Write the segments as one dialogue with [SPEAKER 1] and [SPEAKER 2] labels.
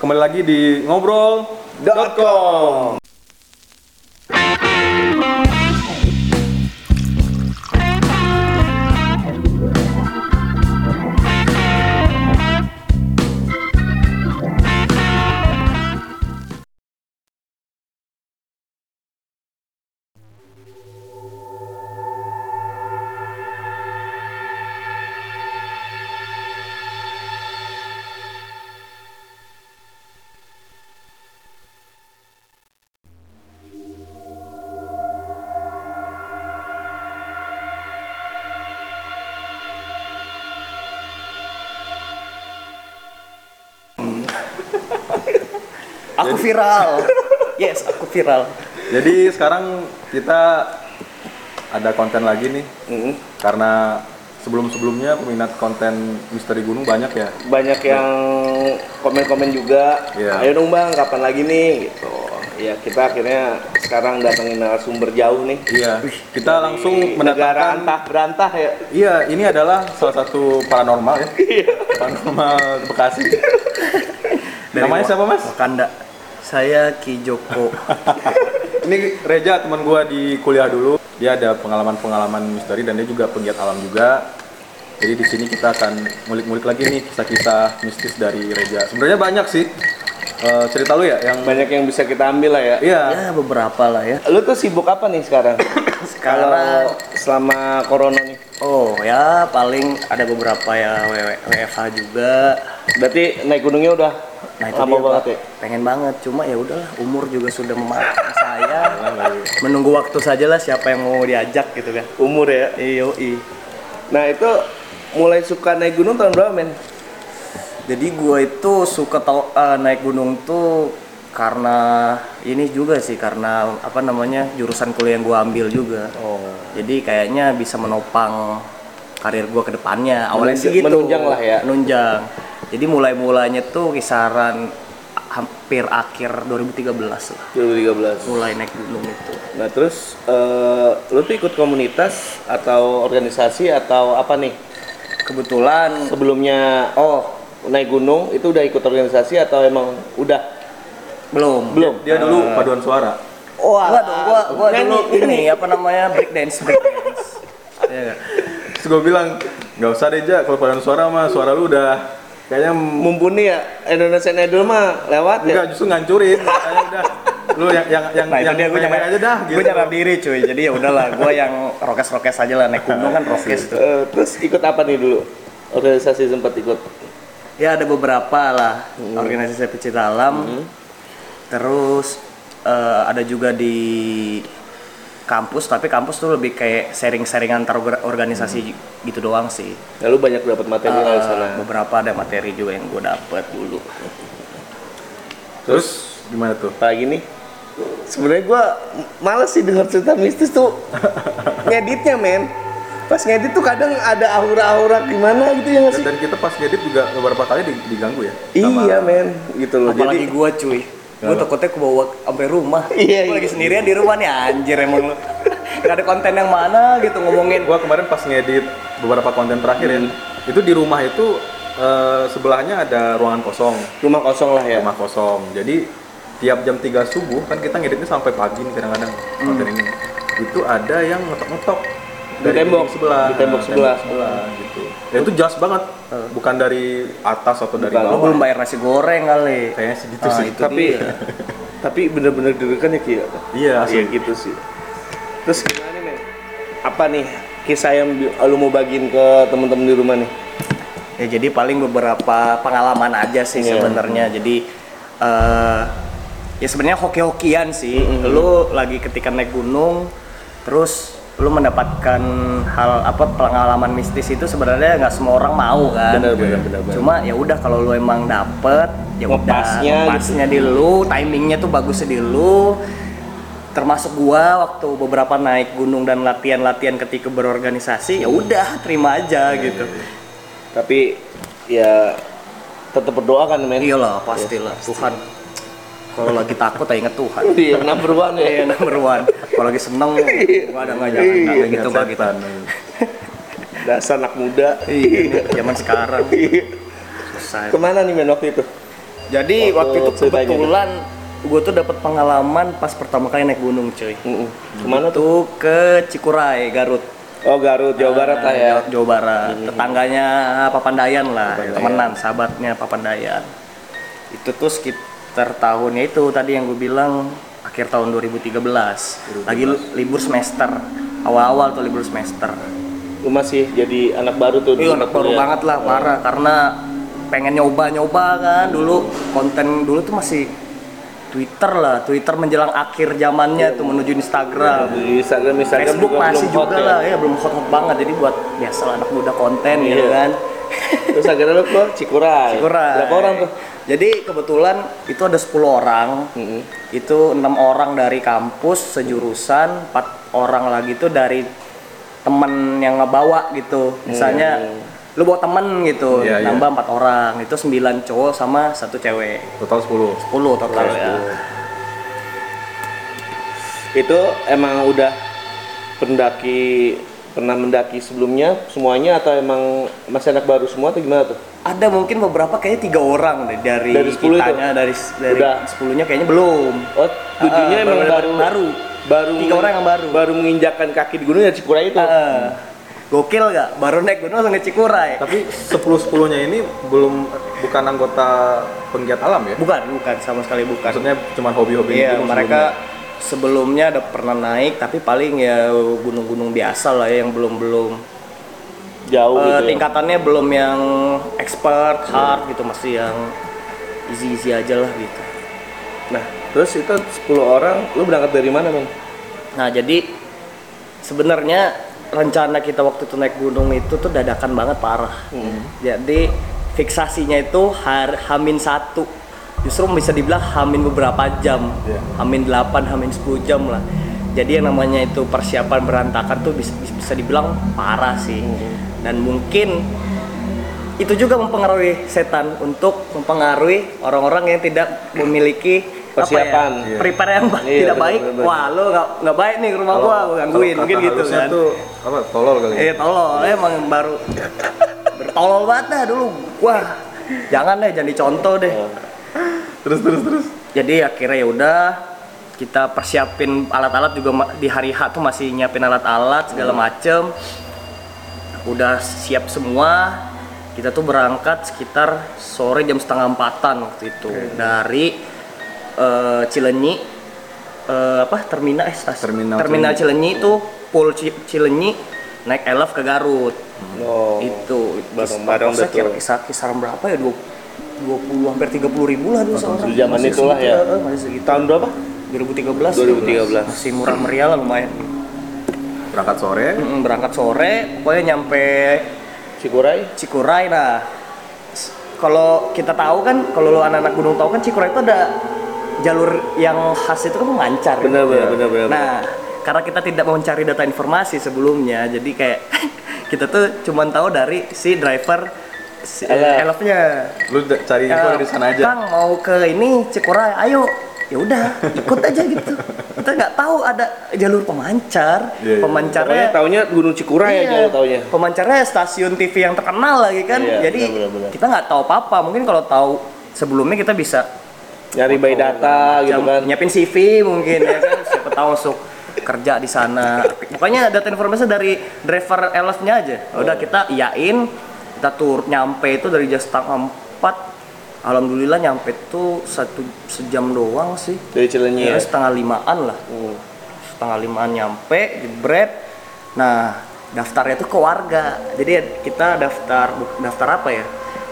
[SPEAKER 1] Kembali lagi di ngobrol.com.
[SPEAKER 2] Aku viral. Yes, aku viral.
[SPEAKER 1] Jadi sekarang kita ada konten lagi nih
[SPEAKER 2] Mm,
[SPEAKER 1] karena sebelum-sebelumnya peminat konten misteri gunung banyak ya.
[SPEAKER 2] Banyak yang komen-komen juga.
[SPEAKER 1] Iya.
[SPEAKER 2] Ayo dong bang, kapan lagi nih? Gitu. Ya kita akhirnya sekarang datangin narasumber jauh nih.
[SPEAKER 1] Iya. Kita langsung
[SPEAKER 2] Di negara
[SPEAKER 1] mendatangkan
[SPEAKER 2] antah berantah ya.
[SPEAKER 1] Iya, ini adalah salah satu paranormal ya. paranormal Bekasi. Namanya siapa, Mas?
[SPEAKER 3] Wakanda. Saya Ki Joko.
[SPEAKER 1] Ini Reja teman gua di kuliah dulu. Dia ada pengalaman-pengalaman misteri dan dia juga penggiat alam juga. Jadi di sini kita akan ngulik-ngulik lagi nih kisah-kisah mistis dari Reja. Sebenarnya banyak sih Eh, cerita lu ya yang
[SPEAKER 2] Banyak yang bisa kita ambil lah ya.
[SPEAKER 1] Iya.
[SPEAKER 3] ya beberapa lah ya.
[SPEAKER 2] Lu tuh sibuk apa nih sekarang?
[SPEAKER 3] Sekarang-
[SPEAKER 2] Kalau selama corona nih.
[SPEAKER 3] Oh ya paling ada beberapa ya W- WFH juga.
[SPEAKER 2] Berarti naik gunungnya udah
[SPEAKER 3] Nah itu
[SPEAKER 2] lama
[SPEAKER 3] dia,
[SPEAKER 2] banget
[SPEAKER 3] Pak.
[SPEAKER 2] ya.
[SPEAKER 3] Pengen banget cuma ya udahlah umur juga sudah memakan saya.
[SPEAKER 2] ya.
[SPEAKER 3] Menunggu waktu sajalah siapa yang mau diajak gitu kan.
[SPEAKER 2] Umur ya.
[SPEAKER 3] Iyo
[SPEAKER 2] Nah itu mulai suka naik gunung tahun berapa men?
[SPEAKER 3] Jadi gua itu suka tau- eh, naik gunung tuh karena ini juga sih karena apa namanya jurusan kuliah yang gua ambil juga.
[SPEAKER 2] Oh.
[SPEAKER 3] Jadi kayaknya bisa menopang karir gua ke depannya. Awalnya
[SPEAKER 2] Menunjang-
[SPEAKER 3] sih gitu.
[SPEAKER 2] menunjang lah ya.
[SPEAKER 3] Menunjang. Jadi mulai-mulanya tuh kisaran hampir akhir 2013 lah
[SPEAKER 2] 2013.
[SPEAKER 3] mulai naik gunung itu.
[SPEAKER 2] Nah terus eh, lu tuh ikut komunitas atau organisasi atau apa nih?
[SPEAKER 3] Kebetulan
[SPEAKER 2] Sebelumnya
[SPEAKER 3] oh
[SPEAKER 2] naik gunung itu udah ikut organisasi atau emang udah?
[SPEAKER 3] belum.
[SPEAKER 2] Belum.
[SPEAKER 1] Dia dulu
[SPEAKER 3] Ah.
[SPEAKER 1] paduan suara.
[SPEAKER 2] Wah,
[SPEAKER 3] Gua dong, gua gua
[SPEAKER 2] nyanyi,
[SPEAKER 3] dulu
[SPEAKER 2] nyanyi.
[SPEAKER 3] ini apa namanya break dance break dance. Iya nggak?
[SPEAKER 1] Terus gua bilang, nggak usah Reja kalau paduan suara mah suara lu udah kayaknya m-
[SPEAKER 2] Mumpuni ya Indonesian Idol mah lewat ya.
[SPEAKER 1] enggak justru ngancurin. Makanya udah lu yang yang yang
[SPEAKER 3] Nah,
[SPEAKER 1] yang
[SPEAKER 3] itu dia gue
[SPEAKER 1] main
[SPEAKER 3] nyamar
[SPEAKER 1] aja dah gitu.
[SPEAKER 3] Gue nyamar diri cuy. Jadi ya udahlah, gue yang rokes-rokes aja lah naik gunung kan rokes tuh.
[SPEAKER 2] Eh, terus ikut apa nih dulu? Organisasi sempat ikut.
[SPEAKER 3] Ya ada beberapa lah
[SPEAKER 2] Hmm.
[SPEAKER 3] organisasi pecinta alam. Terus eh, ada juga di kampus, tapi kampus tuh lebih kayak sharing-sharingan antar orga- organisasi
[SPEAKER 2] Hmm.
[SPEAKER 3] gitu doang sih.
[SPEAKER 2] Lalu Ya, banyak dapat materi dari
[SPEAKER 3] Eh,
[SPEAKER 2] sana.
[SPEAKER 3] beberapa ada materi juga yang gue dapet dulu.
[SPEAKER 1] Terus gimana tuh?
[SPEAKER 2] Apalagi nih? Sebenarnya gua males sih denger cerita mistis tuh. Ngeditnya men. Pas ngedit tuh kadang ada aura-aura gimana gitu ya nggak sih?
[SPEAKER 1] Dan kita pas ngedit juga beberapa kali di- diganggu ya. sama-
[SPEAKER 2] Iya men, gitu loh.
[SPEAKER 3] Apalagi
[SPEAKER 2] Jadi
[SPEAKER 3] gue cuy, gue takutnya gue bawa sampai rumah.
[SPEAKER 2] Iya,
[SPEAKER 3] Gue
[SPEAKER 2] iya.
[SPEAKER 3] lagi sendirian di rumah nih anjir emang lu. Gak ada konten yang mana gitu ngomongin
[SPEAKER 1] gua kemarin pas ngedit beberapa konten terakhir ya
[SPEAKER 2] Hmm.
[SPEAKER 1] itu di rumah itu eh, sebelahnya ada ruangan kosong
[SPEAKER 2] rumah kosong lah ya.
[SPEAKER 1] rumah kosong jadi tiap jam 3 subuh kan kita ngeditnya sampai pagi nih kadang-kadang konten ini itu ada yang ngetok-ngetok
[SPEAKER 2] Hmm. Di tembok.
[SPEAKER 1] dinding sebelah Nah,
[SPEAKER 2] Di tembok sebelah. Hmm.
[SPEAKER 1] gitu Dan itu jelas banget bukan dari atas atau dari
[SPEAKER 2] Bukan.
[SPEAKER 3] Lu
[SPEAKER 1] bawah
[SPEAKER 3] belum bayar nasi goreng kali.
[SPEAKER 1] kayaknya segitu
[SPEAKER 3] Ah,
[SPEAKER 1] sih
[SPEAKER 3] itu
[SPEAKER 2] Tapi tapi bener-bener deg-degan ya Kia.
[SPEAKER 1] iya
[SPEAKER 2] Iya
[SPEAKER 1] asli
[SPEAKER 2] gitu sih. Terus gimana nih men? Apa nih kisah yang bi- lu mau bagiin ke temen-temen di rumah nih?
[SPEAKER 3] Ya jadi paling beberapa pengalaman aja sih
[SPEAKER 2] Iya.
[SPEAKER 3] sebenarnya. Jadi eh ya sebenarnya hoki-hokian sih. Lu lagi ketika naik gunung terus lu mendapatkan hal apa pengalaman mistis itu sebenarnya nggak semua orang mau kan.
[SPEAKER 2] Benar, benar, benar, benar. gitu.
[SPEAKER 3] Cuma ya udah kalau lu emang dapet ya
[SPEAKER 2] Ngepasnya
[SPEAKER 3] udah ngepasnya di lu, timingnya tuh bagus di lu. Termasuk gua waktu beberapa naik gunung dan latihan-latihan ketika berorganisasi ya udah terima aja gitu.
[SPEAKER 2] Tapi ya tetap berdoa kan men?
[SPEAKER 3] Iya lah, pastilah. Tuhan. Kalau lagi takut, ya inget Tuhan.
[SPEAKER 2] Iya, number one ya.
[SPEAKER 3] Iya, number one. Kalau lagi seneng, nggak ada nggak jangan nggak
[SPEAKER 1] Iya,
[SPEAKER 3] gitu nggak gitu.
[SPEAKER 1] setan.
[SPEAKER 2] Dasar anak muda.
[SPEAKER 3] Iya, ini zaman sekarang susah.
[SPEAKER 2] Kemana nih men waktu itu?
[SPEAKER 3] Jadi waktu,
[SPEAKER 2] Waktu
[SPEAKER 3] itu
[SPEAKER 2] ceritanya tuh.
[SPEAKER 3] kebetulan gue tuh dapat pengalaman pas pertama kali naik gunung cuy.
[SPEAKER 2] Mm-mm. Kemana tuh?
[SPEAKER 3] Itu ke Cikuray, Garut.
[SPEAKER 2] Oh Garut, Jawa Barat lah ya.
[SPEAKER 3] Nah, Jawa, Jawa Barat. Tetangganya Papandayan lah, temenan, sahabatnya Papandayan. Itu tuh sekitar tahunnya itu tadi yang gue bilang akhir tahun 2013. Lagi li- libur semester. Awal-awal tuh libur semester.
[SPEAKER 2] Lu masih jadi anak baru tuh.
[SPEAKER 3] Iya, anak baru banget lah, parah karena pengen nyoba-nyoba kan dulu konten dulu tuh masih Twitter lah, Twitter menjelang akhir zamannya tuh menuju Instagram.
[SPEAKER 2] Di Instagram, Instagram
[SPEAKER 3] Facebook
[SPEAKER 2] juga
[SPEAKER 3] masih
[SPEAKER 2] belum hot
[SPEAKER 3] juga
[SPEAKER 2] ya.
[SPEAKER 3] lah ya belum hot hot banget jadi buat biasa lah anak muda konten gitu
[SPEAKER 2] Iya.
[SPEAKER 3] kan
[SPEAKER 2] Terus akhirnya lu ke Cikuray.
[SPEAKER 3] kurang
[SPEAKER 2] Berapa orang tuh?
[SPEAKER 3] jadi kebetulan itu ada 10 orang itu enam orang dari kampus sejurusan empat orang lagi tuh dari temen yang ngebawa gitu misalnya lu bawa temen gitu
[SPEAKER 1] Iya, iya.
[SPEAKER 3] nambah empat orang itu sembilan cowok sama satu cewek
[SPEAKER 1] Total 10.
[SPEAKER 3] 10 total
[SPEAKER 2] Iya,
[SPEAKER 3] ya
[SPEAKER 2] Itu emang udah pendaki pernah mendaki sebelumnya semuanya atau emang masih anak baru semua atau gimana tuh?
[SPEAKER 3] ada mungkin beberapa kayaknya tiga orang deh dari,
[SPEAKER 2] Dari 10 itu?
[SPEAKER 3] kitanya dari dari
[SPEAKER 2] Udah.
[SPEAKER 3] 10-nya kayaknya belum
[SPEAKER 2] Oh, tujuannya
[SPEAKER 3] Ah,
[SPEAKER 2] emang baru,
[SPEAKER 3] baru- baru.
[SPEAKER 2] baru
[SPEAKER 3] Tiga orang yang baru. Ah,
[SPEAKER 2] baru menginjakan kaki di gunung ya Cikuray itu.
[SPEAKER 3] Heeh. gokil gak? Baru naik gunung langsung ke Cikuray.
[SPEAKER 1] Tapi 10-10-nya ini belum bukan anggota penggiat alam ya?
[SPEAKER 3] Bukan, bukan sama sekali bukan.
[SPEAKER 1] Maksudnya cuma hobi-hobi
[SPEAKER 3] Iya,
[SPEAKER 1] gitu
[SPEAKER 3] mereka sebelumnya ada pernah naik tapi paling ya gunung-gunung biasa lah ya yang belum-belum
[SPEAKER 2] Jauh
[SPEAKER 3] Eh,
[SPEAKER 2] gitu. ya.
[SPEAKER 3] tingkatannya belum yang expert hard gitu masih yang easy easy aja lah gitu
[SPEAKER 2] Nah, terus itu 10 orang, lu berangkat dari mana, Men?
[SPEAKER 3] nah jadi sebenarnya rencana kita waktu itu naik gunung itu tuh dadakan banget parah jadi fiksasinya itu har hamin satu justru bisa dibilang hamin beberapa jam
[SPEAKER 1] Iya.
[SPEAKER 3] hamin 8 hamin 10 jam lah jadi yang namanya itu persiapan berantakan tuh bisa, bisa dibilang parah sih dan mungkin itu juga mempengaruhi setan untuk mempengaruhi orang-orang yang tidak memiliki apa ya,
[SPEAKER 2] Persiapan.
[SPEAKER 1] Iya.
[SPEAKER 3] prepare yang ba-
[SPEAKER 2] Iya,
[SPEAKER 3] tidak baik
[SPEAKER 2] benar-benar.
[SPEAKER 3] wah lo nggak nggak baik nih ke rumah gua gua gangguin mungkin gitu kan
[SPEAKER 1] Tuh, apa tolol kali. ya?
[SPEAKER 3] eh tolol emang baru bertolol banget dah dulu wah jangan deh jangan dicontoh deh
[SPEAKER 1] Terus terus terus.
[SPEAKER 3] jadi akhirnya ya udah kita persiapin alat-alat juga ma- di hari H tuh masih nyiapin alat-alat segala macem udah siap semua kita tuh berangkat sekitar sore jam setengah empatan waktu itu dari eh, Cilenyi eh, apa terminal eh stasiun
[SPEAKER 1] Terminal
[SPEAKER 3] Cilenyi itu Pul Ci- Cilenyi naik elf ke Garut
[SPEAKER 2] Oh.
[SPEAKER 3] itu
[SPEAKER 2] Bareng-bareng
[SPEAKER 3] Kos- kosnya
[SPEAKER 2] betul.
[SPEAKER 3] kira- kisar kisaran berapa ya 20 hampir 30 ribu lah dulu seorang
[SPEAKER 2] Di zaman
[SPEAKER 3] Masih
[SPEAKER 2] itulah
[SPEAKER 3] segitu,
[SPEAKER 2] ya.
[SPEAKER 3] eh, masih segitu
[SPEAKER 2] Tahun berapa?
[SPEAKER 3] 2013
[SPEAKER 2] 2013.
[SPEAKER 3] masih murah meriah lah lumayan
[SPEAKER 1] Berangkat sore.
[SPEAKER 3] Mm, berangkat sore pokoknya nyampe
[SPEAKER 2] Cikuray?
[SPEAKER 3] Cikuray nah s- kalau kita tahu kan kalau lu anak-anak gunung tahu kan Cikuray itu ada jalur yang khas itu kan mengancar ya.
[SPEAKER 2] Benar, benar, benar, benar.
[SPEAKER 3] Nah, karena kita tidak mencari data informasi sebelumnya, jadi kayak kita tuh cuman tahu dari si driver si eh,
[SPEAKER 2] Elf.
[SPEAKER 3] elfnya.
[SPEAKER 1] Lu da- cari info dari sana aja.
[SPEAKER 3] Eh, Kang mau ke ini Cikuray, ayo. Ya udah, ikut aja gitu. Kita nggak tahu ada jalur
[SPEAKER 1] Iya,
[SPEAKER 3] pemancar.
[SPEAKER 1] iya.
[SPEAKER 2] Pokoknya
[SPEAKER 3] Pemancarnya
[SPEAKER 2] taunya Gunung Cikuray
[SPEAKER 3] Iya.
[SPEAKER 2] aja lu taunya.
[SPEAKER 3] Pemancarnya stasiun TV yang terkenal lagi kan.
[SPEAKER 2] Iya,
[SPEAKER 3] Jadi
[SPEAKER 2] benar-benar.
[SPEAKER 3] kita nggak tahu apa-apa. Mungkin kalau tahu sebelumnya kita bisa
[SPEAKER 2] Nyari by data gitu
[SPEAKER 3] jam-
[SPEAKER 2] kan.
[SPEAKER 3] nyiapin CV mungkin ya kan. Siapa tahu masuk kerja di sana. Pokoknya data informasi dari driver elf-nya aja. Ya
[SPEAKER 2] Oh.
[SPEAKER 3] Udah kita iain, kita tur nyampe itu dari jam setengah empat. Alhamdulillah nyampe tuh satu sejam doang sih.
[SPEAKER 2] Dari Cilenyi
[SPEAKER 1] Iya.
[SPEAKER 3] Ya,
[SPEAKER 2] ya.
[SPEAKER 3] setengah limaan lah.
[SPEAKER 2] Hmm.
[SPEAKER 3] Setengah limaan nyampe, jebret. Nah, daftarnya tuh ke warga. Jadi ya kita daftar bu- daftar apa ya?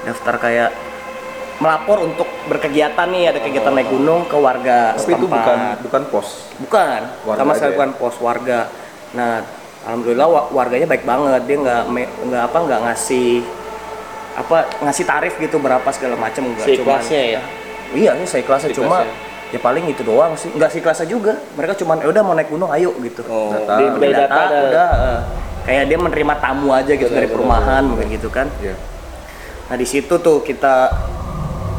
[SPEAKER 3] Daftar kayak melapor untuk berkegiatan nih, ada kegiatan naik gunung ke
[SPEAKER 1] Oh.
[SPEAKER 3] warga
[SPEAKER 1] Tapi
[SPEAKER 3] setempat.
[SPEAKER 1] itu bukan bukan pos.
[SPEAKER 3] Bukan,
[SPEAKER 1] Warga
[SPEAKER 3] sama sekali
[SPEAKER 1] aja ya?
[SPEAKER 3] bukan pos warga. Nah, alhamdulillah wa- warganya baik banget. Dia nggak me- nggak apa nggak ngasih apa ngasih tarif gitu berapa segala macam enggak
[SPEAKER 2] Seikhlasnya ya.
[SPEAKER 3] Iya, ini saya kelasnya cuma ya paling itu doang sih. Enggak sih kelasnya juga. Mereka cuman "Eh, udah mau naik gunung ayo gitu.
[SPEAKER 2] Oh,
[SPEAKER 1] Data.
[SPEAKER 2] di by
[SPEAKER 3] Beli
[SPEAKER 2] data.
[SPEAKER 3] data,
[SPEAKER 2] ada.
[SPEAKER 3] udah eh, kayak dia menerima tamu aja gitu dari
[SPEAKER 2] Benar,
[SPEAKER 3] perumahan mungkin gitu kan.
[SPEAKER 1] Iya.
[SPEAKER 3] Nah, di situ tuh kita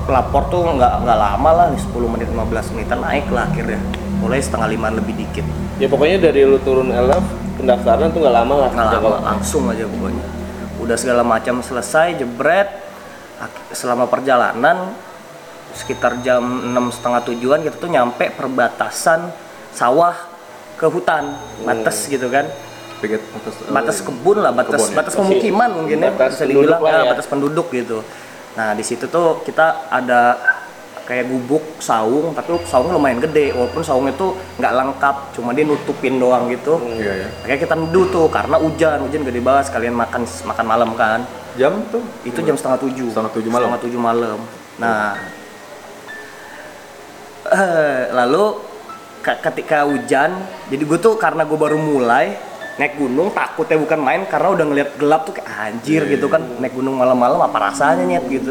[SPEAKER 3] pelapor tuh nggak nggak lama lah 10 menit 15 menitan naik lah akhirnya. Mulai setengah lima lebih dikit.
[SPEAKER 2] Ya pokoknya dari lu turun elf pendaftaran tuh nggak lama lah.
[SPEAKER 3] nggak
[SPEAKER 2] Jangka
[SPEAKER 3] lama
[SPEAKER 2] waktu.
[SPEAKER 3] langsung aja pokoknya udah segala macam selesai jebret Ak- selama perjalanan sekitar jam enam setengah tujuan kita tuh nyampe perbatasan sawah ke hutan batas gitu kan
[SPEAKER 1] Piket atas eh,
[SPEAKER 3] batas kebun lah batas
[SPEAKER 1] Kebun ya.
[SPEAKER 3] batas pemukiman mungkin ya
[SPEAKER 2] Iya. Batas
[SPEAKER 3] bisa dibilang
[SPEAKER 2] penduduk lah
[SPEAKER 3] ah,
[SPEAKER 2] ya.
[SPEAKER 3] batas penduduk gitu nah di situ tuh kita ada kayak gubuk saung tapi saung lumayan gede walaupun saung itu nggak lengkap cuma dia nutupin doang gitu
[SPEAKER 1] Iya ya.
[SPEAKER 3] Makanya kita neduh tuh karena hujan, hujan gede banget sekalian makan makan malam kan.
[SPEAKER 1] Jam tuh
[SPEAKER 3] Itu jam setengah tujuh.
[SPEAKER 1] Setengah tujuh malam.
[SPEAKER 3] Setengah tujuh malam. Nah, eh, lalu ke- ketika hujan, jadi gue tuh karena gue baru mulai naik gunung takutnya bukan main karena udah ngeliat gelap tuh kayak anjir
[SPEAKER 1] Iya,
[SPEAKER 3] gitu kan naik gunung malam-malam apa rasanya nyet gitu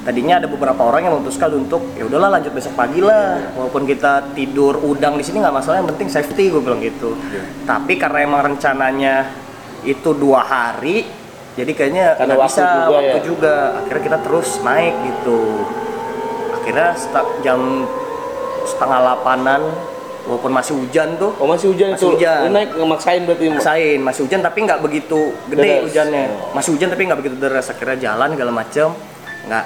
[SPEAKER 3] tadinya ada beberapa orang yang memutuskan untuk ya udahlah lanjut besok pagi
[SPEAKER 1] Iya,
[SPEAKER 3] lah walaupun kita tidur udang di sini nggak masalah yang penting safety gue bilang gitu
[SPEAKER 1] Iya.
[SPEAKER 3] tapi karena emang rencananya itu dua hari jadi kayaknya
[SPEAKER 2] Karena
[SPEAKER 3] nggak
[SPEAKER 2] waktu
[SPEAKER 3] bisa
[SPEAKER 2] juga
[SPEAKER 3] waktu
[SPEAKER 2] ya.
[SPEAKER 3] juga akhirnya kita terus naik gitu akhirnya seta- jam setengah lapanan walaupun masih hujan tuh
[SPEAKER 2] Oh masih hujan
[SPEAKER 3] Masih
[SPEAKER 2] itu.
[SPEAKER 3] hujan.
[SPEAKER 2] Lu naik ngemaksain berarti. Mak?
[SPEAKER 3] rasain masih hujan tapi nggak begitu gede
[SPEAKER 2] Deras. Oh.
[SPEAKER 3] hujannya masih hujan tapi nggak begitu deras akhirnya jalan segala macem nggak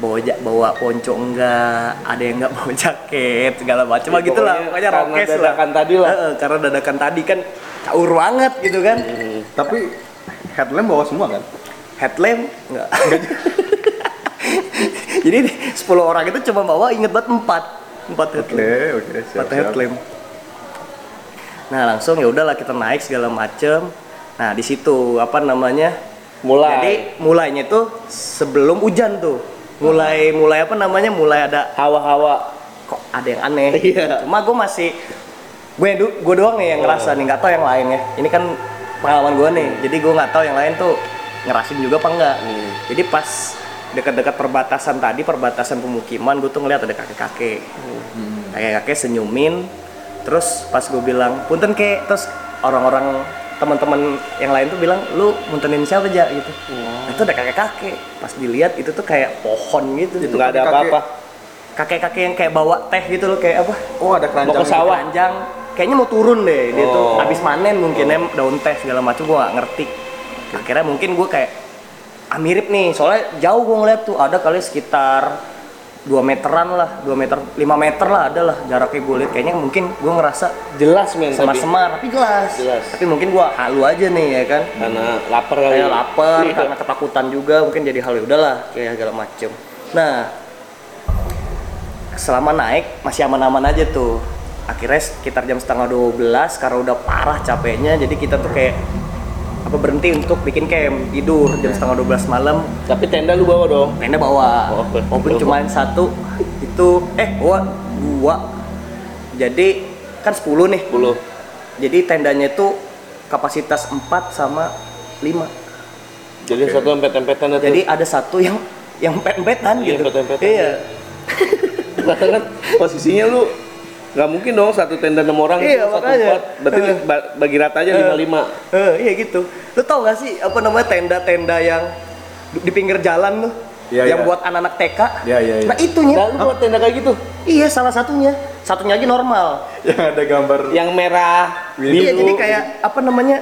[SPEAKER 3] bawa ja- bawa ponco enggak ada yang nggak bawa jaket segala macem lah
[SPEAKER 2] Ya,
[SPEAKER 3] gitu lah
[SPEAKER 2] pokoknya
[SPEAKER 3] pokoknya
[SPEAKER 2] karena
[SPEAKER 3] rokes lah
[SPEAKER 2] dadakan tadi lah. Iya.
[SPEAKER 3] Heeh, karena dadakan tadi kan caur banget gitu kan
[SPEAKER 1] Tapi headlamp bawa semua kan?
[SPEAKER 3] headlamp nggak jadi 10 orang itu cuma bawa inget banget empat empat headlamp
[SPEAKER 1] oke. siap,
[SPEAKER 3] Patah
[SPEAKER 1] siap.
[SPEAKER 3] headlamp. Nah langsung ya udahlah kita naik segala macem. Nah di situ apa namanya?
[SPEAKER 2] Mulai.
[SPEAKER 3] Jadi mulainya tuh sebelum hujan tuh. Mulai mulai apa namanya? Mulai ada
[SPEAKER 2] Hawa-hawa.
[SPEAKER 3] kok ada yang aneh.
[SPEAKER 2] Iya.
[SPEAKER 3] Cuma gue masih gue du- gue doang nih yang ngerasa nih nggak tahu yang lain ya. Ini kan pengalaman gue nih. Jadi gue nggak tahu yang lain tuh ngerasin juga apa enggak. Jadi pas dekat-dekat perbatasan tadi perbatasan pemukiman gue tuh ngeliat ada kakek-kakek
[SPEAKER 2] Hmm.
[SPEAKER 3] kakek-kakek senyumin terus pas gue bilang punten kek terus orang-orang teman-teman yang lain tuh bilang lu muntenin siapa aja gitu Nah, itu ada kakek-kakek pas dilihat itu tuh kayak pohon gitu
[SPEAKER 1] Itu
[SPEAKER 2] Nggak ada
[SPEAKER 1] kakek-
[SPEAKER 2] apa-apa.
[SPEAKER 3] kakek-kakek yang kayak bawa teh gitu loh kayak apa
[SPEAKER 1] Oh ada keranjang.
[SPEAKER 2] Mau ke sawah.
[SPEAKER 3] panjang kayaknya mau turun deh dia tuh
[SPEAKER 2] Oh.
[SPEAKER 3] habis panen mungkin ya, daun teh segala macam gua nggak ngerti akhirnya mungkin gua kayak ah mirip nih soalnya jauh gua ngeliat tuh ada kali sekitar 2 meteran lah 2 meter 5 meter lah ada lah jaraknya gua lihat kayaknya mungkin gua ngerasa
[SPEAKER 2] Jelas men tapi.
[SPEAKER 3] semar-semar tapi jelas.
[SPEAKER 2] Jelas.
[SPEAKER 3] tapi mungkin gua halu aja nih ya kan
[SPEAKER 2] Karena lapar kali.
[SPEAKER 3] kayak lapar
[SPEAKER 2] Iya.
[SPEAKER 3] karena ketakutan juga mungkin jadi hal ya udahlah kayak segala macem nah selama naik masih aman-aman aja tuh akhirnya sekitar jam setengah 12 karena udah parah capeknya jadi kita tuh kayak apa berhenti untuk bikin camp tidur jam setengah 12 malam
[SPEAKER 2] Tapi tenda lu bawa dong.
[SPEAKER 3] tenda bawa
[SPEAKER 2] Oh, oke.
[SPEAKER 3] walaupun cuma satu itu eh bawa dua jadi kan 10 nih
[SPEAKER 2] Bulu.
[SPEAKER 3] jadi tendanya itu kapasitas 4 sama 5
[SPEAKER 2] Jadi satu empet-empetan itu.
[SPEAKER 3] jadi ada satu yang yang pet-petan
[SPEAKER 2] Iya,
[SPEAKER 3] gitu.
[SPEAKER 2] pet-petan.
[SPEAKER 3] Iya.
[SPEAKER 2] Karena kan posisinya lu nggak mungkin dong satu tenda enam orang
[SPEAKER 3] Iya,
[SPEAKER 2] itu satu
[SPEAKER 3] makanya.
[SPEAKER 2] empat. Berarti lu ba- bagi rata aja lima lima.
[SPEAKER 3] Eh, iya gitu. Lu tau gak sih apa namanya tenda-tenda yang du- di pinggir jalan tuh?
[SPEAKER 1] Iya,
[SPEAKER 3] yang
[SPEAKER 1] iya.
[SPEAKER 3] buat anak-anak TK.
[SPEAKER 1] Iya, iya, iya.
[SPEAKER 3] Nah, itunya.
[SPEAKER 2] Nah, lu buat tenda kayak gitu.
[SPEAKER 3] Iya, salah satunya. Satunya aja normal.
[SPEAKER 1] Yang Ya, ada gambar.
[SPEAKER 2] Yang merah,
[SPEAKER 1] Biru.
[SPEAKER 2] biru.
[SPEAKER 3] Iya, jadi kayak apa namanya?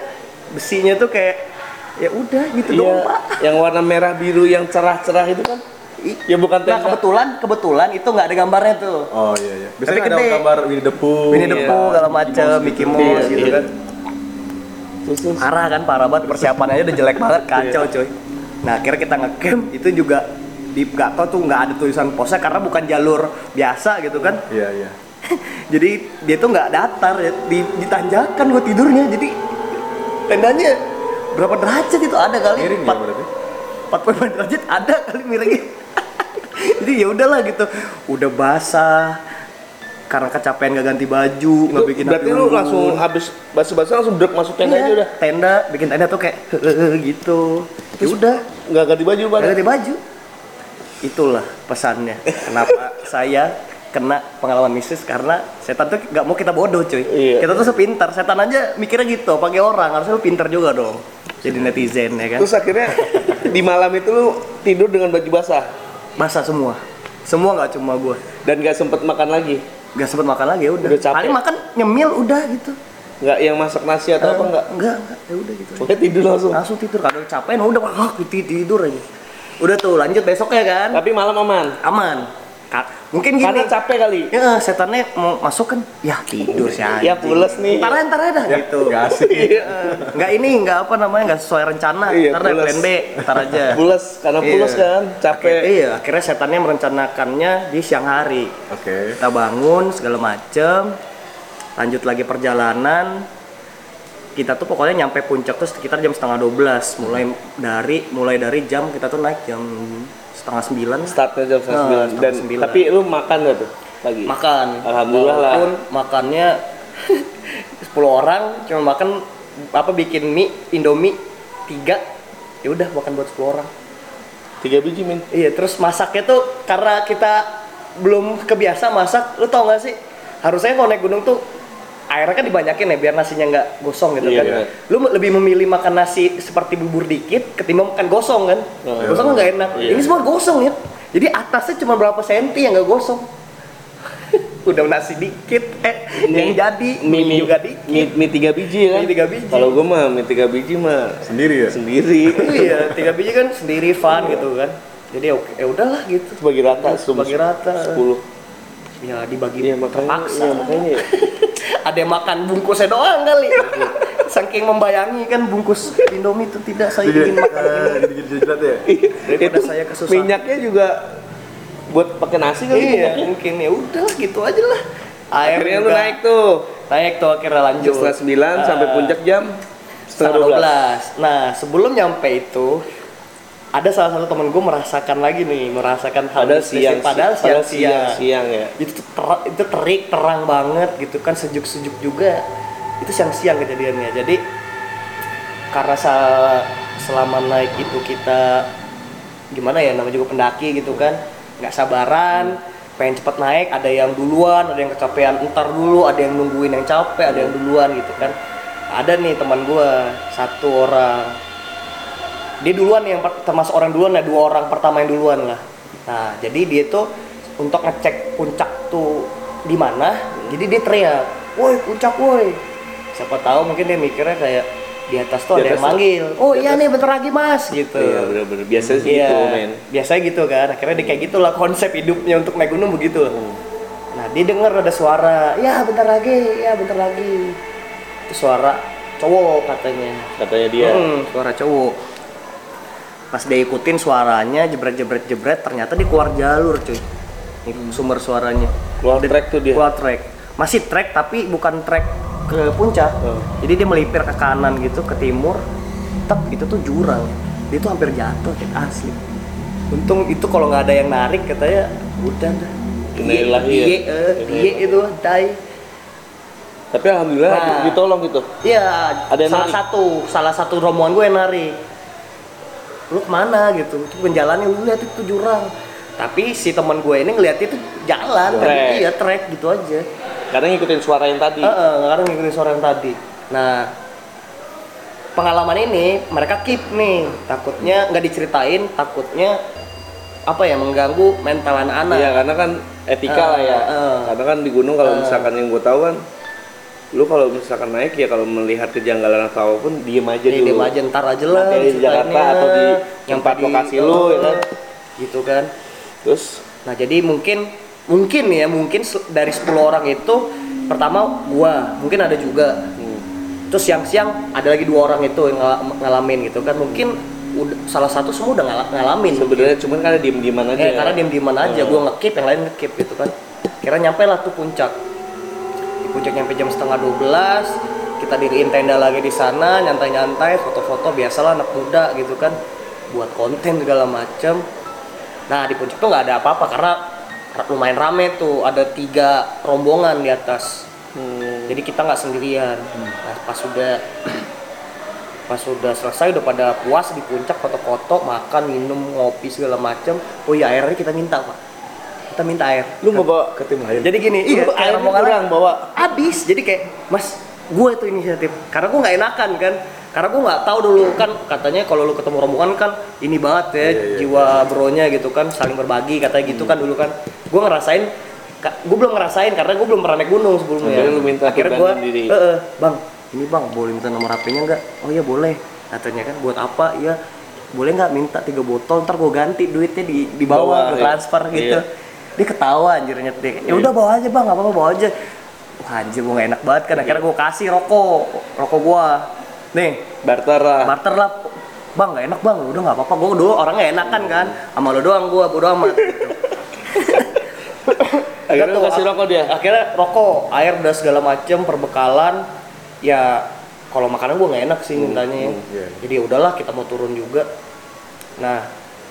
[SPEAKER 3] Besinya tuh kayak ya udah
[SPEAKER 2] Iya,
[SPEAKER 3] gitu doang, Pak.
[SPEAKER 2] yang warna merah biru yang cerah-cerah itu kan.
[SPEAKER 3] I-
[SPEAKER 2] Ya bukan
[SPEAKER 3] Nah,
[SPEAKER 2] tenda.
[SPEAKER 3] kebetulan kebetulan itu nggak ada gambarnya tuh.
[SPEAKER 1] Oh iya iya. Biasanya
[SPEAKER 3] Tapi
[SPEAKER 1] ada
[SPEAKER 3] gede.
[SPEAKER 1] gambar Winnie the Pooh.
[SPEAKER 3] Winnie the
[SPEAKER 1] Iya.
[SPEAKER 3] Pooh, segala macem, Mickey Mouse
[SPEAKER 2] Iya,
[SPEAKER 3] gitu
[SPEAKER 2] iya.
[SPEAKER 3] kan.
[SPEAKER 2] Terus, terus.
[SPEAKER 3] parah kan parah banget persiapannya udah jelek banget kacau cuy nah akhirnya kita ngecamp itu juga di nggak tau tuh nggak ada tulisan posnya karena bukan jalur biasa gitu kan
[SPEAKER 1] Iya iya.
[SPEAKER 3] jadi dia tuh nggak datar ya di, ditanjakan gue tidurnya jadi tendanya berapa derajat itu ada kali
[SPEAKER 1] Miring ya
[SPEAKER 3] Empat-
[SPEAKER 1] berarti.
[SPEAKER 3] 45 derajat ada kali miringnya jadi ya udahlah gitu udah basah karena kecapean gak ganti baju nggak bikin api
[SPEAKER 2] berarti lu
[SPEAKER 3] unggun.
[SPEAKER 2] langsung habis basuh-basuh langsung drek masuk tenda
[SPEAKER 3] Iya,
[SPEAKER 2] aja udah.
[SPEAKER 3] tenda bikin tenda tuh kayak gitu ya udah
[SPEAKER 2] Nggak ganti baju pada.
[SPEAKER 3] Gak ganti baju. Itulah pesannya. Kenapa saya kena pengalaman mistis karena setan tuh nggak mau kita bodoh cuy.
[SPEAKER 2] Iya.
[SPEAKER 3] Kita tuh sepintar. Setan aja mikirnya gitu. Pakai orang harusnya lu pintar juga dong. Jadi netizen ya kan.
[SPEAKER 2] Terus akhirnya di malam itu lu tidur dengan baju basah
[SPEAKER 3] Masa semua. Semua nggak cuma gua.
[SPEAKER 2] dan gak sempet makan lagi.
[SPEAKER 3] Gak sempet makan lagi ya udah.
[SPEAKER 2] Udah capek.
[SPEAKER 3] Paling makan nyemil udah gitu.
[SPEAKER 2] Nggak yang masak nasi atau apa nggak?
[SPEAKER 3] Enggak, enggak. Ya udah gitu.
[SPEAKER 2] Pokoknya tidur langsung.
[SPEAKER 3] Langsung tidur kadang nah capek udah wah, tidur aja. Udah tuh lanjut besoknya kan.
[SPEAKER 2] Tapi malam aman.
[SPEAKER 3] aman Ka- mungkin gini.
[SPEAKER 2] Karena capek kali.
[SPEAKER 3] Ya, setannya mau masuk kan, ya tidur sih
[SPEAKER 2] Ya
[SPEAKER 3] anjing.
[SPEAKER 2] pules nih.
[SPEAKER 3] Ntar aja, ntar aja dah
[SPEAKER 1] Ya,
[SPEAKER 3] gitu.
[SPEAKER 1] nggak asik.
[SPEAKER 3] Iya. Nggak ini, nggak apa namanya, nggak sesuai rencana.
[SPEAKER 2] Iya,
[SPEAKER 3] ntar ada
[SPEAKER 2] pules.
[SPEAKER 3] plan B, ntar aja.
[SPEAKER 2] Pules karena pules
[SPEAKER 3] Iya.
[SPEAKER 2] kan, capek.
[SPEAKER 3] Akhirnya- iya, akhirnya setannya merencanakannya di siang hari.
[SPEAKER 1] Oke.
[SPEAKER 3] Kita bangun segala macem, lanjut lagi perjalanan. Kita tuh pokoknya nyampe puncak tuh sekitar jam setengah 12 mulai dari mulai dari jam kita tuh naik jam setengah sembilan
[SPEAKER 2] Startnya jam setengah
[SPEAKER 3] Nah, setengah
[SPEAKER 2] sembilan. Dan
[SPEAKER 3] sembilan.
[SPEAKER 2] tapi lu makan nggak tuh pagi?
[SPEAKER 3] makan
[SPEAKER 2] Alhamdulillah lah.
[SPEAKER 3] Walaupun makannya 10 orang cuma makan apa bikin mie indomie tiga ya udah makan buat 10 orang
[SPEAKER 2] Tiga biji min.
[SPEAKER 3] Iya, terus masaknya tuh karena kita belum kebiasa masak, lu tau gak sih? Harusnya kalau naik gunung tuh airnya kan dibanyakin ya biar nasinya nggak gosong gitu
[SPEAKER 2] Iya,
[SPEAKER 3] kan.
[SPEAKER 2] iya.
[SPEAKER 3] Lu lebih memilih makan nasi seperti bubur dikit ketimbang makan gosong kan.
[SPEAKER 2] Iya.
[SPEAKER 3] Gosong kan nggak enak.
[SPEAKER 2] Iya.
[SPEAKER 3] Ini semua gosong ya. Jadi atasnya cuma berapa senti yang nggak gosong. Udah nasi dikit, eh yang jadi mie, juga dikit.
[SPEAKER 2] Mie, mie tiga biji ya kan?
[SPEAKER 3] Mie tiga biji.
[SPEAKER 2] Kalau gua mah mie tiga biji mah
[SPEAKER 1] Sendiri ya?
[SPEAKER 2] sendiri.
[SPEAKER 3] iya, tiga biji kan sendiri fun gitu kan. Jadi oke, ya udahlah gitu.
[SPEAKER 2] Bagi rata, sebelum
[SPEAKER 3] Bagi rata.
[SPEAKER 2] Sepuluh.
[SPEAKER 3] Ya dibagi
[SPEAKER 2] Iya makanya.
[SPEAKER 3] terpaksa.
[SPEAKER 2] Iya makanya. ya.
[SPEAKER 3] ada yang makan bungkusnya doang kali saking membayangi kan bungkus indomie itu tidak saya
[SPEAKER 1] Jadi,
[SPEAKER 3] ingin makan
[SPEAKER 1] eh, Jadi jilat ya?
[SPEAKER 3] Daripada saya kesusahan.
[SPEAKER 2] Minyaknya juga buat pakai nasi kali
[SPEAKER 3] iya
[SPEAKER 2] minyaknya.
[SPEAKER 3] mungkin ya udah gitu aja lah air
[SPEAKER 2] Akhirnya lu
[SPEAKER 3] juga-
[SPEAKER 2] naik tuh.
[SPEAKER 3] naik tuh akhirnya lanjut
[SPEAKER 2] Jam setengah sembilan
[SPEAKER 3] Ah,
[SPEAKER 2] sampai puncak jam
[SPEAKER 3] setengah 12. nah sebelum nyampe itu ada salah satu temen gue merasakan lagi nih merasakan hal
[SPEAKER 2] Padahal
[SPEAKER 3] mistis.
[SPEAKER 2] siang.
[SPEAKER 3] padahal siang siang,
[SPEAKER 2] Siang ya.
[SPEAKER 3] Iya, itu tuh ter- itu terik terang banget gitu kan sejuk-sejuk juga itu siang-siang kejadiannya jadi karena sa- selama naik itu kita gimana ya namanya juga pendaki gitu kan nggak sabaran pengen cepet naik ada yang duluan ada yang kecapean entar dulu ada yang nungguin yang capek ada yang duluan gitu kan ada nih teman gua satu orang dia duluan yang per- termasuk orang duluan nah dua orang pertama yang duluan lah nah jadi dia tuh untuk ngecek puncak tuh di mana jadi dia teriak woi puncak woi siapa tahu mungkin dia mikirnya kayak di atas
[SPEAKER 2] Di
[SPEAKER 3] tuh ada yang
[SPEAKER 2] atas tuh-
[SPEAKER 3] manggil oh
[SPEAKER 2] di
[SPEAKER 3] iya
[SPEAKER 2] atas.
[SPEAKER 3] nih bentar lagi mas gitu
[SPEAKER 2] Iya bener-bener. Biasanya sih
[SPEAKER 3] Iya,
[SPEAKER 2] gitu men.
[SPEAKER 3] biasanya gitu kan. Akhirnya dia kayak gitulah konsep hidupnya untuk naik gunung begitu.
[SPEAKER 2] Hmm.
[SPEAKER 3] Nah, dia dengar ada suara, "Ya, bentar lagi, ya bentar lagi." Itu suara cowok katanya.
[SPEAKER 2] Katanya dia.
[SPEAKER 3] Hmm, suara cowok. Pas dia ikutin suaranya jebret-jebret-jebret, ternyata dia keluar jalur, cuy. Ini sumber suaranya.
[SPEAKER 2] Keluar track tuh dia.
[SPEAKER 3] Hmm. Keluar track. Masih track tapi bukan track ke puncak.
[SPEAKER 2] Oh.
[SPEAKER 3] Jadi dia melipir ke kanan gitu, ke timur. Tep, itu tuh jurang. Dia tuh hampir jatuh, cuy, asli. Untung itu kalau nggak ada yang narik katanya udah dah.
[SPEAKER 2] Innalillahi ya.
[SPEAKER 3] Iye, eh, iye itu dai.
[SPEAKER 2] Tapi alhamdulillah
[SPEAKER 3] Nah.
[SPEAKER 2] ditolong gitu.
[SPEAKER 3] Iya,
[SPEAKER 2] Ada yang
[SPEAKER 3] salah
[SPEAKER 2] narik?
[SPEAKER 3] satu salah satu rombongan gue yang narik. Lu kemana gitu? Itu bukan jalan yang lu lihat itu jurang. Tapi si teman gue ini ngeliat itu jalan,
[SPEAKER 2] Trek. Hmm.
[SPEAKER 3] tapi iya trek gitu aja.
[SPEAKER 2] Karena ngikutin suara yang tadi.
[SPEAKER 3] Heeh, karena ngikutin suara yang tadi. Nah, pengalaman ini mereka keep nih, takutnya nggak diceritain, takutnya apa ya mengganggu mental anak-anak.
[SPEAKER 2] Iya karena kan etika
[SPEAKER 3] Ah,
[SPEAKER 2] lah ya.
[SPEAKER 3] ah.
[SPEAKER 2] Karena kan di gunung kalau misalkan yang gue tahu kan, lu kalau misalkan naik ya kalau melihat kejanggalan atau apapun diem aja
[SPEAKER 3] Jadi
[SPEAKER 2] dulu.
[SPEAKER 3] Iya, diem aja ntar aja lah.
[SPEAKER 2] Nanti gitu. di Jakarta
[SPEAKER 3] ceritainnya.
[SPEAKER 2] atau di
[SPEAKER 3] Nyampe
[SPEAKER 2] tempat
[SPEAKER 3] di-
[SPEAKER 2] lokasi lu, ya kan?
[SPEAKER 3] Gitu kan.
[SPEAKER 2] Terus
[SPEAKER 3] Nah, jadi mungkin mungkin ya, mungkin se- dari 10 orang itu pertama gua, mungkin ada juga. Terus siang-siang ada lagi dua orang itu yang ngala- ngalamin gitu kan. Mungkin udah- salah satu semua udah ngala- ngalamin.
[SPEAKER 2] sebenarnya cuman karena diem dieman aja. ya.
[SPEAKER 3] Eh, karena diem dieman aja, gua ngekip, yang lain ngekip gitu kan. Kira nyampe lah tuh puncak. Di puncak nyampe jam setengah 12, kita diriin tenda lagi di sana, nyantai-nyantai, foto-foto biasalah anak muda gitu kan, buat konten segala macem. Nah di puncak tuh nggak ada apa-apa karena lumayan rame tuh, ada tiga rombongan di atas. Jadi kita nggak sendirian. Nah, pas sudah pas sudah selesai udah pada puas di puncak foto-foto makan minum ngopi segala macem oh iya airnya kita minta pak kita minta air
[SPEAKER 2] Lu mau bawa
[SPEAKER 1] Ke tim lain.
[SPEAKER 3] jadi gini iya
[SPEAKER 2] Lu
[SPEAKER 3] kayak
[SPEAKER 2] airnya
[SPEAKER 3] rombongan
[SPEAKER 2] kurang bawa.
[SPEAKER 3] abis jadi kayak mas gue tuh inisiatif karena gue nggak enakan kan karena gue nggak tahu dulu kan katanya kalau lu ketemu rombongan kan ini banget ya jiwa bronya gitu kan saling berbagi katanya gitu kan dulu kan gue ngerasain gue belum ngerasain karena gue belum pernah naik gunung sebelumnya
[SPEAKER 2] Akhirnya lu minta
[SPEAKER 3] akhirnya gue
[SPEAKER 2] keberanian diri.
[SPEAKER 3] Eh, eh, bang ini bang boleh minta nomor HP-nya nggak oh iya boleh katanya kan buat apa iya boleh nggak minta tiga botol ntar gue ganti duitnya di di bawah
[SPEAKER 2] Bawah,
[SPEAKER 3] gua
[SPEAKER 2] iya.
[SPEAKER 3] transfer gitu
[SPEAKER 2] Iya.
[SPEAKER 3] dia ketawa anjir nyetik ya udah bawa aja bang nggak apa-apa bawa aja Wah, anjir gue gak enak banget kan
[SPEAKER 2] Iya.
[SPEAKER 3] akhirnya gue kasih rokok rokok gue nih
[SPEAKER 2] barter lah.
[SPEAKER 3] barter lah bang gak enak bang udah nggak apa-apa gue dulu orangnya enakan kan sama lo doang gue bodo amat gitu.
[SPEAKER 2] Akhirnya lu
[SPEAKER 3] Udah tuh, ah.
[SPEAKER 2] kasih
[SPEAKER 3] ak-
[SPEAKER 2] rokok dia.
[SPEAKER 3] akhirnya rokok air udah segala macem perbekalan ya kalau makanan gue nggak enak sih mintanya ya.
[SPEAKER 1] iya.
[SPEAKER 3] jadi ya udahlah kita mau turun juga nah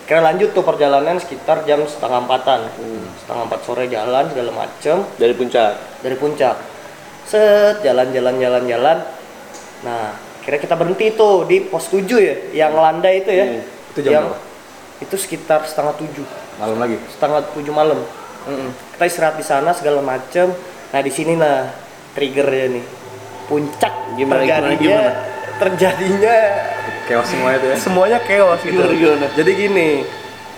[SPEAKER 3] kira lanjut tuh perjalanan sekitar jam setengah empatan
[SPEAKER 1] Hmm.
[SPEAKER 3] setengah empat sore jalan segala macem
[SPEAKER 2] Dari puncak.
[SPEAKER 3] dari puncak set jalan jalan jalan jalan nah kira kita berhenti tuh di pos 7 ya yang landai itu ya
[SPEAKER 1] Iya, Itu jam
[SPEAKER 3] yang
[SPEAKER 1] berapa?
[SPEAKER 3] itu sekitar setengah tujuh
[SPEAKER 1] malam lagi
[SPEAKER 3] setengah tujuh malam. Mm-mm. Kita istirahat di sana segala macem. Nah di sini nah triggernya nih puncak
[SPEAKER 2] Gimana, gimana,
[SPEAKER 3] terjadinya
[SPEAKER 2] gimana?
[SPEAKER 3] terjadinya
[SPEAKER 1] chaos semua itu ya
[SPEAKER 3] semuanya chaos gitu.
[SPEAKER 2] Gimana, gimana?
[SPEAKER 3] Jadi gini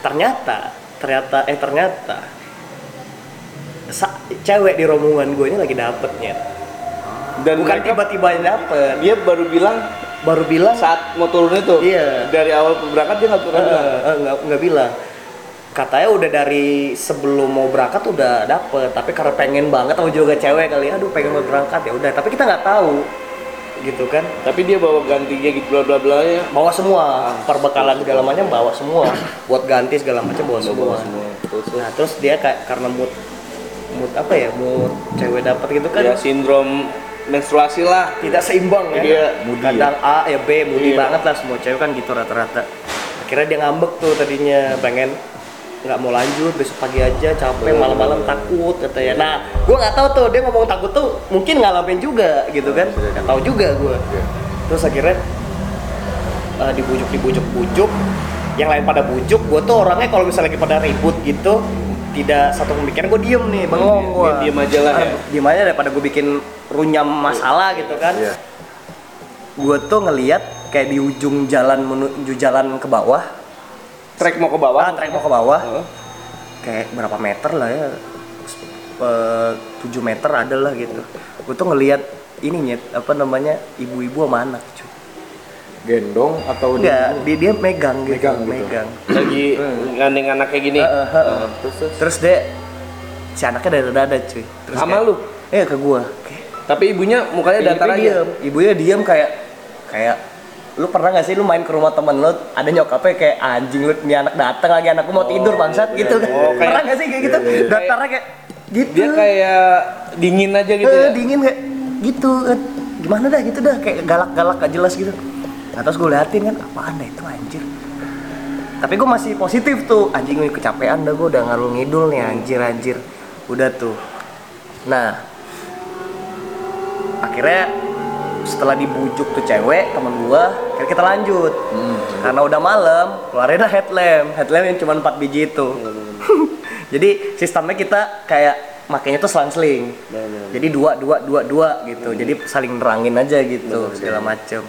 [SPEAKER 3] ternyata ternyata eh ternyata sa- cewek di rombongan gue ini lagi dapetnya
[SPEAKER 2] Dan
[SPEAKER 3] bukan
[SPEAKER 2] mereka-
[SPEAKER 3] tiba-tiba yang dapet
[SPEAKER 2] dia baru bilang
[SPEAKER 3] baru bilang
[SPEAKER 2] saat mau turun itu.
[SPEAKER 3] Iya.
[SPEAKER 2] Dari awal berangkat dia nggak pernah bilang.
[SPEAKER 3] Eh, eh, nggak nggak bilang katanya udah dari sebelum mau berangkat udah dapet tapi karena pengen banget sama juga cewek kali aduh pengen mau berangkat ya udah tapi kita nggak tahu gitu kan
[SPEAKER 2] Tapi dia bawa gantinya gitu bla bla bla ya.
[SPEAKER 3] bawa semua perbekalan segala macam bawa semua buat ganti segala macam bawa semua nah terus dia kayak karena mood mood apa ya mood cewek dapat gitu kan
[SPEAKER 2] Ya sindrom menstruasi lah.
[SPEAKER 3] tidak seimbang ya.
[SPEAKER 2] Iya,
[SPEAKER 1] moody
[SPEAKER 3] Kadang A ya B, moody
[SPEAKER 2] Iya.
[SPEAKER 3] banget lah semua cewek kan gitu rata-rata. Akhirnya dia ngambek tuh tadinya pengen nggak mau lanjut besok pagi aja capek malam-malam takut katanya. Nah, gua nggak tahu tuh dia ngomong takut tuh mungkin ngalamin juga gitu kan. Nggak tahu juga gua. Terus akhirnya eh, dibujuk dibujuk bujuk yang lain pada bujuk gue tuh orangnya kalau misalnya lagi pada ribut gitu tidak satu pemikiran gue diem nih bengong
[SPEAKER 2] Iya,
[SPEAKER 3] gue
[SPEAKER 2] diem aja lah ya.
[SPEAKER 3] diem aja daripada gue bikin runyam masalah gitu kan
[SPEAKER 1] Iya.
[SPEAKER 3] gue tuh ngeliat kayak di ujung jalan menuju jalan ke bawah
[SPEAKER 2] Trek mau ke bawah. Oh.
[SPEAKER 3] ah trek mau ke bawah
[SPEAKER 2] Heeh.
[SPEAKER 3] kayak berapa meter lah ya Sep- eh, 7 meter adalah gitu gue tuh ngeliat ini nyet apa namanya ibu-ibu sama anak cuy
[SPEAKER 1] gendong atau di-
[SPEAKER 3] enggak dia, dia megang gitu
[SPEAKER 1] Megang gitu.
[SPEAKER 3] megang.
[SPEAKER 2] Lagi
[SPEAKER 3] Hmm.
[SPEAKER 2] ngandeng anak kayak gini.
[SPEAKER 3] Heeh, heeh.
[SPEAKER 2] Heeh, eh, Terus terus.
[SPEAKER 3] Terus dia si anaknya dari dada cuy. Terus
[SPEAKER 2] Sama
[SPEAKER 3] kayak-
[SPEAKER 2] lu?
[SPEAKER 3] Iya ke gua.
[SPEAKER 2] Tapi ibunya mukanya datar
[SPEAKER 3] Ibunya
[SPEAKER 2] aja.
[SPEAKER 3] diem. Ibunya diem kayak kayak lu pernah gak sih lu main ke rumah temen lu ada nyokapnya kayak anjing lu nih anak datang lagi anakku mau tidur bangsat gitu kan.
[SPEAKER 2] Oh, kayak-
[SPEAKER 3] pernah gak sih kayak gitu? Datarnya kayak
[SPEAKER 2] iya,
[SPEAKER 3] gitu.
[SPEAKER 2] Dia kayak dingin aja gitu
[SPEAKER 3] Eh,
[SPEAKER 2] ya.
[SPEAKER 3] dingin kayak gitu kan. Gimana dah gitu dah kayak galak-galak gak jelas gitu. Nah, terus gue liatin kan apaan dah itu anjir. Tapi gue masih positif tuh. Anjing gue kecapean dah gue udah ngalung ngidul nih anjir anjir. Udah tuh. Nah, akhirnya setelah dibujuk tuh cewek temen gua akhirnya kita lanjut karena udah malam keluarin lah headlamp headlamp yang cuma 4 biji itu jadi sistemnya kita kayak makanya tuh selang seling jadi dua dua dua dua gitu jadi saling nerangin aja gitu segala macem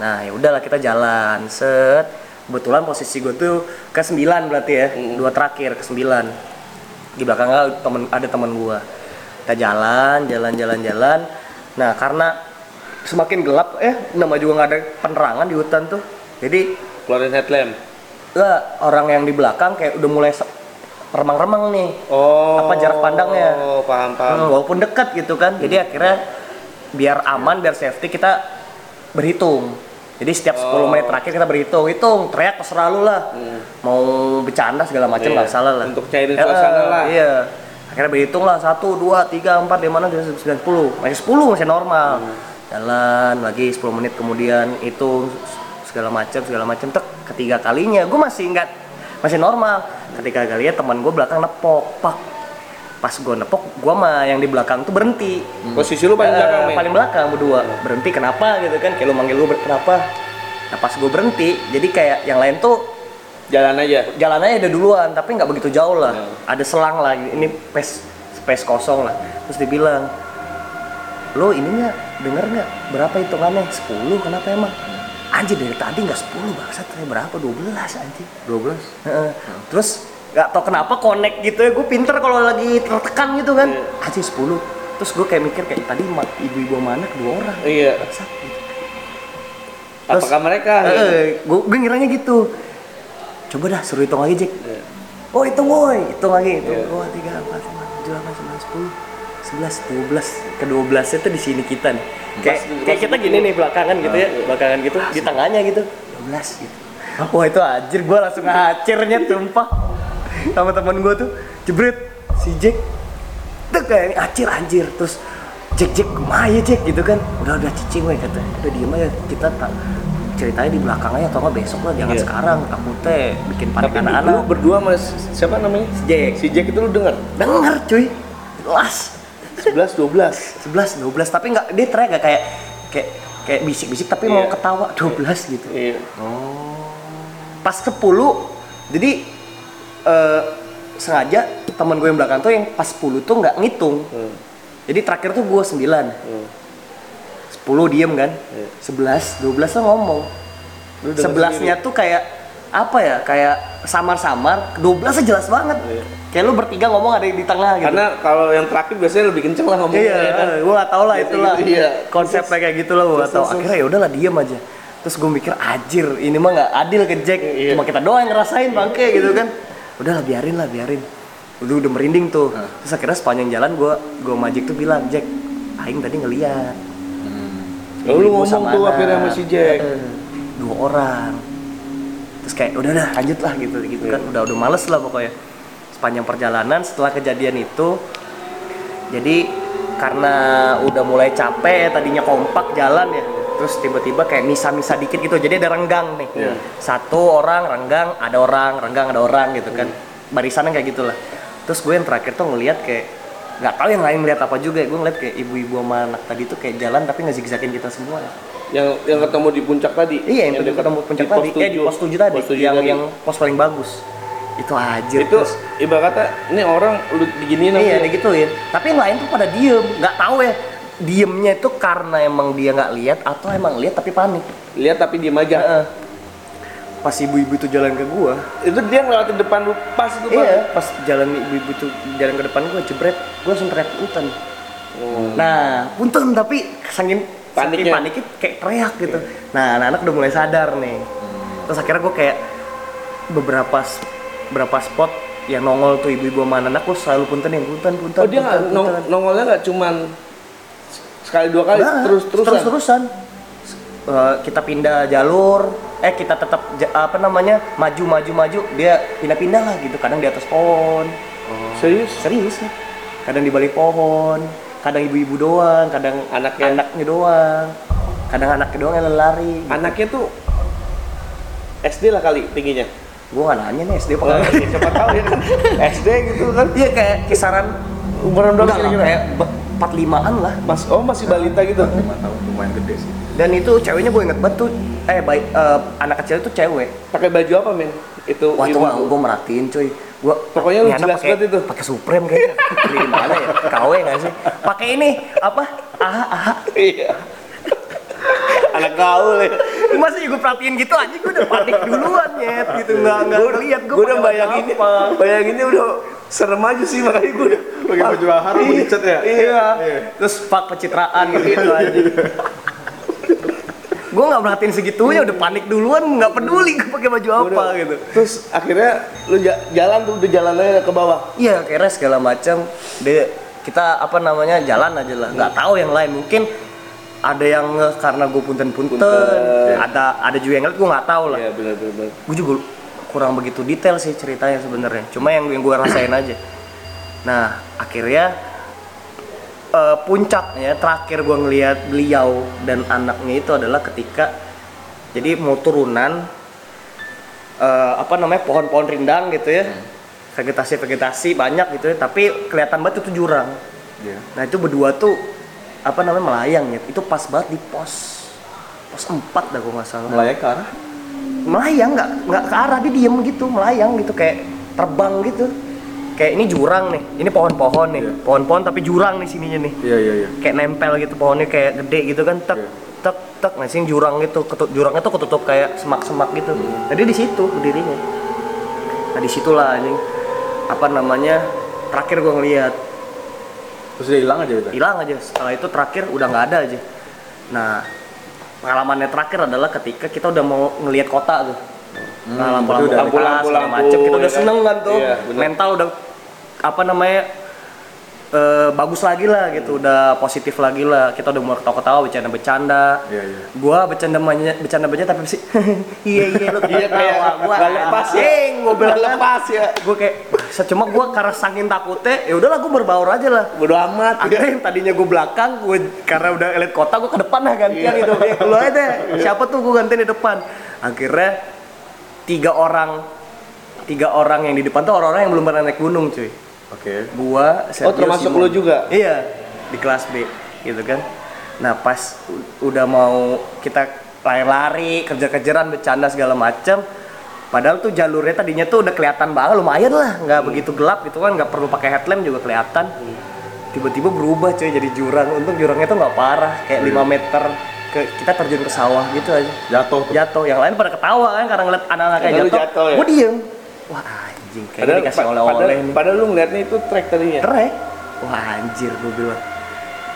[SPEAKER 3] nah ya udahlah kita jalan set kebetulan posisi gua tuh ke 9 berarti ya dua terakhir ke 9 di belakangnya temen, ada teman gua kita jalan jalan jalan jalan nah karena semakin gelap eh nama juga nggak ada penerangan di hutan tuh jadi
[SPEAKER 2] Keluarin headlamp.
[SPEAKER 3] lah orang yang di belakang kayak udah mulai se- remang-remang nih
[SPEAKER 2] Oh.
[SPEAKER 3] Apa jarak pandangnya?
[SPEAKER 2] Oh, paham paham.
[SPEAKER 3] Hmm, walaupun dekat gitu kan
[SPEAKER 2] Hmm.
[SPEAKER 3] jadi akhirnya biar aman biar safety kita berhitung jadi setiap 10
[SPEAKER 2] Oh.
[SPEAKER 3] menit terakhir kita berhitung hitung teriak terserah lu lah mau bercanda segala macam
[SPEAKER 2] Hmm. Iya.
[SPEAKER 3] nggak salah lah
[SPEAKER 2] Untuk cairin
[SPEAKER 3] Eh,
[SPEAKER 2] suasana lah.
[SPEAKER 3] iya akhirnya berhitung lah satu dua tiga empat lima enam tujuh sembilan sepuluh masih sepuluh masih normal
[SPEAKER 2] Hmm.
[SPEAKER 3] jalan lagi 10 menit kemudian itu segala macam segala macam tek ketiga kalinya gue masih nggak masih normal ketiga kalinya teman gue belakang nepok pak pas gue nepok gue mah yang di belakang tuh berhenti
[SPEAKER 2] Posisi lu paling
[SPEAKER 3] Eh,
[SPEAKER 2] belakang, Iya. men.
[SPEAKER 3] paling belakang berdua berhenti kenapa gitu kan kayak lu manggil gue kenapa nah pas gue berhenti jadi kayak yang lain tuh
[SPEAKER 2] Jalan aja.
[SPEAKER 3] jalannya ada duluan tapi nggak begitu jauh lah ada selang lah ini space space kosong lah terus dibilang lo ininya denger nggak berapa hitungannya 10 kenapa emang anjir dari tadi nggak 10 bangsat saya berapa 12 anjir
[SPEAKER 1] 12
[SPEAKER 3] Heeh. terus nggak tau kenapa connect gitu ya gue pinter kalau lagi tertekan gitu kan anjir 10 terus gue kayak mikir kayak tadi ma- ibu-ibu mana dua orang
[SPEAKER 2] Iya.
[SPEAKER 3] bangsat gitu.
[SPEAKER 2] Apakah mereka?
[SPEAKER 3] Eh, gue ngiranya gitu coba dah suruh hitung lagi Jack oh hitung woi hitung lagi hitung
[SPEAKER 2] Iya.
[SPEAKER 3] dua tiga empat lima tujuh delapan sembilan sepuluh sebelas dua belas ke dua belasnya tuh di sini kita nih kayak kayak kita gini nih belakangan gitu
[SPEAKER 2] Ah,
[SPEAKER 3] ya
[SPEAKER 2] iya.
[SPEAKER 3] belakangan gitu di tangannya gitu dua belas gitu wah itu anjir gue langsung ngacirnya tumpah sama teman gue tuh jebret si Jack tuh kayak acir anjir terus Jack Jack mah ya Jack gitu kan udah udah cicing weh kata udah diem aja kita tak ceritanya di belakang aja atau nggak besok lah jangan
[SPEAKER 2] Iya.
[SPEAKER 3] sekarang takutnya bikin panik
[SPEAKER 2] Tapi lu- lu
[SPEAKER 3] anak-anak
[SPEAKER 2] berdua mas siapa namanya?
[SPEAKER 3] Si Jack.
[SPEAKER 2] Si Jack itu lu denger?
[SPEAKER 3] denger cuy jelas
[SPEAKER 2] 11 12.
[SPEAKER 3] 11 12 tapi nggak dia teriak nggak kayak kayak kayak bisik-bisik tapi mau
[SPEAKER 2] Iya.
[SPEAKER 3] ketawa 12 gitu
[SPEAKER 2] Iya.
[SPEAKER 3] pas 10 jadi eh, sengaja teman gue yang belakang tuh yang pas 10 tuh nggak ngitung
[SPEAKER 2] Hmm.
[SPEAKER 3] jadi terakhir tuh gue 9 10 diem kan 11 12 tuh ngomong
[SPEAKER 2] Iya. Lu denger
[SPEAKER 3] sebelasnya tuh kayak apa ya kayak samar-samar 12 nya jelas banget
[SPEAKER 2] Iya.
[SPEAKER 3] kayak lu bertiga ngomong ada yang di tengah gitu
[SPEAKER 2] Karena kalau yang terakhir biasanya lebih kenceng lah ngomongnya.
[SPEAKER 3] Iya,
[SPEAKER 2] ya kan?
[SPEAKER 3] gue gak tau lah
[SPEAKER 2] Gitu,
[SPEAKER 3] itulah
[SPEAKER 2] gitu, iya.
[SPEAKER 3] konsepnya kayak gitu lah gue gak tau. Akhirnya ya udahlah diem aja. Terus gue mikir ajir ini mah nggak adil ke Jack.
[SPEAKER 2] Iya.
[SPEAKER 3] Cuma kita doang yang ngerasain bangke gitu kan. Udahlah biarin lah biarin. Udah udah merinding tuh. Terus akhirnya sepanjang jalan gue gue majik tuh bilang Jack, Aing tadi ngeliat.
[SPEAKER 2] Hmm. Lalu lu
[SPEAKER 3] Ibu
[SPEAKER 2] ngomong
[SPEAKER 3] sama
[SPEAKER 2] tuh
[SPEAKER 3] anak.
[SPEAKER 2] akhirnya sama si Jack.
[SPEAKER 3] Eh, dua orang. Terus kayak udah udah lanjut lah gitu gitu
[SPEAKER 2] Iya.
[SPEAKER 3] kan udah udah males lah pokoknya. Sepanjang perjalanan setelah kejadian itu jadi karena udah mulai capek tadinya kompak jalan ya terus tiba-tiba kayak misa-misa dikit gitu jadi ada renggang nih
[SPEAKER 2] Iya.
[SPEAKER 3] satu orang renggang ada orang renggang ada orang gitu kan barisannya kayak gitulah terus gue yang terakhir tuh ngeliat kayak nggak tahu yang lain ngeliat apa juga ya gue ngeliat kayak ibu-ibu sama anak tadi tuh kayak jalan tapi ngezigzagin kita semua ya.
[SPEAKER 2] Yang yang ketemu di puncak tadi.
[SPEAKER 3] iya yang,
[SPEAKER 2] dekat
[SPEAKER 3] ketemu puncak
[SPEAKER 2] di pos
[SPEAKER 3] tadi eh di
[SPEAKER 2] tujuh.
[SPEAKER 3] pos tujuh tadi
[SPEAKER 2] Pos tujuh
[SPEAKER 3] yang
[SPEAKER 2] tadi.
[SPEAKER 3] yang pos paling bagus itu aja
[SPEAKER 2] itu ibarat kata ini orang lu diginiin ya? sama
[SPEAKER 3] Iya,
[SPEAKER 2] dia.
[SPEAKER 3] digituin. Tapi yang lain tuh pada diem, nggak tahu ya. Diemnya itu karena emang dia nggak lihat atau emang lihat tapi panik.
[SPEAKER 2] Lihat tapi diem aja.
[SPEAKER 3] Heeh. Pas ibu-ibu itu jalan ke gua,
[SPEAKER 2] Itu dia ngelewatin depan lu pas itu Bang.
[SPEAKER 3] iya, pas jalan ibu-ibu itu jalan ke depan gua jebret, gua langsung teriak punten. Nah, punten tapi saking saking
[SPEAKER 2] Paniknya.
[SPEAKER 3] paniknya kayak teriak gitu. Nah, anak-anak udah mulai sadar nih. Terus akhirnya gua kayak beberapa s- beberapa spot yang nongol tuh ibu-ibu sama anak gua selalu punten yang punten punten.
[SPEAKER 2] Oh dia
[SPEAKER 3] punten,
[SPEAKER 2] nggak nong-
[SPEAKER 3] punten."
[SPEAKER 2] nongolnya nggak cuman sekali dua kali
[SPEAKER 3] Nggak,
[SPEAKER 2] terus terusan.
[SPEAKER 3] terus-terusan. Eh, kita pindah jalur eh kita tetap ja- apa namanya maju maju maju dia pindah-pindah lah gitu kadang di atas pohon
[SPEAKER 2] Serius?
[SPEAKER 3] serius nih kadang di balik pohon kadang ibu-ibu doang kadang
[SPEAKER 2] Anaknya.
[SPEAKER 3] anaknya doang kadang anaknya doang yang lari gitu.
[SPEAKER 2] Anaknya tuh SD lah kali tingginya.
[SPEAKER 3] gua nggak nanya nih SD apa
[SPEAKER 2] Wah,
[SPEAKER 3] nggak.
[SPEAKER 2] siapa tahu ya kan SD gitu kan.
[SPEAKER 3] iya kayak kisaran
[SPEAKER 2] Umuran berapa
[SPEAKER 3] enggak lah
[SPEAKER 2] kira-kira?
[SPEAKER 3] kayak 45an lah
[SPEAKER 2] Mas, oh masih balita gitu.
[SPEAKER 1] lima tahun lumayan gede sih
[SPEAKER 3] dan itu ceweknya gue inget banget tuh eh baik eh, anak kecil itu cewek
[SPEAKER 2] Pakai baju apa men? Itu.
[SPEAKER 3] Wah itu
[SPEAKER 2] ibu.
[SPEAKER 3] mah gue merhatiin cuy. Gua
[SPEAKER 2] Iya, Pokoknya lu
[SPEAKER 3] ini anak
[SPEAKER 2] jelas
[SPEAKER 3] pakai-
[SPEAKER 2] banget itu.
[SPEAKER 3] Pakai Supreme kayaknya. Beli di mana ya? KW nggak sih? Pakai ini apa? Ah, Aha aha.
[SPEAKER 2] Iya. Anak gaul ya.
[SPEAKER 3] Masih gue perhatiin gitu aja gue udah panik duluan nyet gitu nggak nggak lihat
[SPEAKER 2] Gue udah bayanginnya, bayanginnya udah serem aja sih makanya gue udah
[SPEAKER 1] pakai baju ahar
[SPEAKER 2] Iya,
[SPEAKER 1] dicet ya
[SPEAKER 2] Iya.
[SPEAKER 3] Terus pak pencitraan gitu, aja. gue nggak perhatiin segitunya udah panik duluan nggak peduli gue pakai baju apa gitu.
[SPEAKER 2] Terus akhirnya lu ja- jalan tuh udah jalan aja ke bawah.
[SPEAKER 3] Iya, kira segala macam. Dia kita apa namanya jalan aja lah. Nggak tahu yang lain mungkin ada yang nge- karena gue punten-punten,
[SPEAKER 2] Punten.
[SPEAKER 3] ada ada juga yang ngeliat gue nggak tahu lah.
[SPEAKER 2] Iya benar benar.
[SPEAKER 3] Gue juga kurang begitu detail sih ceritanya sebenarnya. Cuma yang yang gue rasain aja. Nah akhirnya eh, puncaknya terakhir gue ngelihat beliau dan anaknya itu adalah ketika jadi mau turunan eh, apa namanya pohon-pohon rindang gitu ya vegetasi-vegetasi banyak gitu ya tapi kelihatan banget itu jurang
[SPEAKER 1] Iya.
[SPEAKER 3] nah itu berdua tuh apa namanya melayang ya itu pas banget di pos pos 4 dah gue nggak salah
[SPEAKER 1] melayang ke arah
[SPEAKER 3] melayang nggak nggak ke arah dia diem gitu melayang gitu kayak terbang gitu kayak ini jurang nih ini pohon-pohon nih
[SPEAKER 1] Iya.
[SPEAKER 3] pohon-pohon tapi jurang nih sininya nih
[SPEAKER 1] iya iya iya
[SPEAKER 3] kayak nempel gitu pohonnya kayak gede gitu kan tek
[SPEAKER 1] Iya.
[SPEAKER 3] tek tek nah sini jurang itu ketu- jurangnya tuh ketutup kayak semak-semak gitu
[SPEAKER 1] Iya.
[SPEAKER 3] jadi di situ berdirinya nah disitulah anjing apa namanya terakhir gua ngeliat
[SPEAKER 1] terus dia hilang aja gitu
[SPEAKER 3] hilang aja setelah itu terakhir udah nggak ada aja nah pengalamannya terakhir adalah ketika kita udah mau ngelihat kota tuh
[SPEAKER 2] Hmm,
[SPEAKER 1] itu
[SPEAKER 3] nah, lampu-lampu
[SPEAKER 1] udah
[SPEAKER 3] lampu
[SPEAKER 2] lampu-lampu,
[SPEAKER 3] segala macem kita
[SPEAKER 2] ya
[SPEAKER 3] udah
[SPEAKER 2] kan?
[SPEAKER 3] seneng kan tuh
[SPEAKER 2] Iya, bener.
[SPEAKER 3] mental udah apa namanya eh, bagus lagi lah
[SPEAKER 2] Hmm.
[SPEAKER 3] gitu udah positif lagi lah kita udah mau ketawa-ketawa bercanda-bercanda
[SPEAKER 1] Iya, iya.
[SPEAKER 3] gua bercanda bercanda bercanda tapi sih iya iya lu
[SPEAKER 2] Iya, kayak
[SPEAKER 3] ketawa gua
[SPEAKER 2] nggak lepas ya.
[SPEAKER 3] anjing, gua bilang kan.
[SPEAKER 2] lepas ya.
[SPEAKER 3] gue kayak "Bangsat, cuma gue karena saking takutnya ya udahlah gue berbaur aja lah
[SPEAKER 2] Bodo amat.
[SPEAKER 3] akhirnya yang tadinya gue belakang gue karena udah elit kota gue ke depan lah gantian itu kayak lu aja siapa tuh gue gantian di depan akhirnya tiga orang tiga orang yang di depan tuh orang-orang yang belum pernah naik gunung cuy
[SPEAKER 1] Oke.
[SPEAKER 3] gua
[SPEAKER 2] Oh,
[SPEAKER 3] Sergio,
[SPEAKER 2] termasuk
[SPEAKER 3] Simon.
[SPEAKER 2] lu juga?
[SPEAKER 3] iya di kelas B gitu kan nah pas u- udah mau kita lari-lari kerja-kerjaan bercanda segala macam padahal tuh jalurnya tadinya tuh udah kelihatan banget lumayan lah nggak
[SPEAKER 2] Hmm.
[SPEAKER 3] begitu gelap gitu kan nggak perlu pakai headlamp juga kelihatan tiba-tiba berubah cuy jadi jurang untung jurangnya tuh nggak parah kayak
[SPEAKER 2] Hmm.
[SPEAKER 3] 5 meter ke kita terjun ke sawah gitu aja
[SPEAKER 1] Jatuh. tuh.
[SPEAKER 3] jatuh yang lain pada ketawa kan karena ngeliat anak-anak kayak
[SPEAKER 2] Karena lu
[SPEAKER 3] jatuh,
[SPEAKER 2] jatuh ya?
[SPEAKER 3] gue diem wah anjing kayaknya
[SPEAKER 2] Padahal,
[SPEAKER 3] dikasih
[SPEAKER 2] pa-
[SPEAKER 3] oleh-oleh
[SPEAKER 2] padahal,
[SPEAKER 3] nih
[SPEAKER 2] padahal lu ngeliatnya itu track tadinya.
[SPEAKER 3] Trek. Wah anjir gue bilang.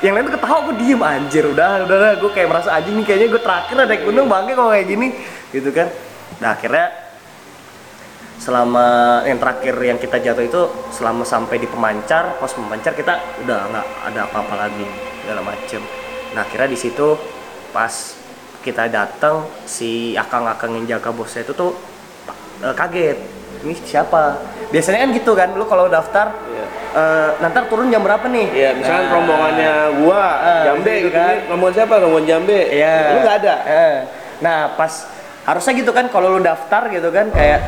[SPEAKER 3] Yang lain tuh ketawa gue diem anjir udah udah, udah. gue kayak merasa anjing nih kayaknya gue terakhir ada naik gunung bangke kalau kayak gini gitu kan. Nah akhirnya selama yang terakhir yang kita jatuh itu selama sampai di pemancar pos pemancar kita udah nggak ada apa-apa lagi segala macem. Nah akhirnya di situ pas kita datang si akang-akang yang jaga bosnya itu tuh eh, kaget ini siapa biasanya kan gitu kan lu kalau daftar
[SPEAKER 2] Iya.
[SPEAKER 3] eh, nanti turun jam berapa nih
[SPEAKER 2] Iya, misalkan
[SPEAKER 3] Nah,
[SPEAKER 2] rombongannya gua,
[SPEAKER 3] Ah,
[SPEAKER 2] Jambe
[SPEAKER 3] gitu
[SPEAKER 2] gitu
[SPEAKER 3] kan.
[SPEAKER 2] kan. Rombongan siapa? Rombongan Jambe.
[SPEAKER 3] Iya.
[SPEAKER 2] Lu enggak ada.
[SPEAKER 3] Eh, Nah, pas harusnya gitu kan kalau lu daftar gitu kan kayak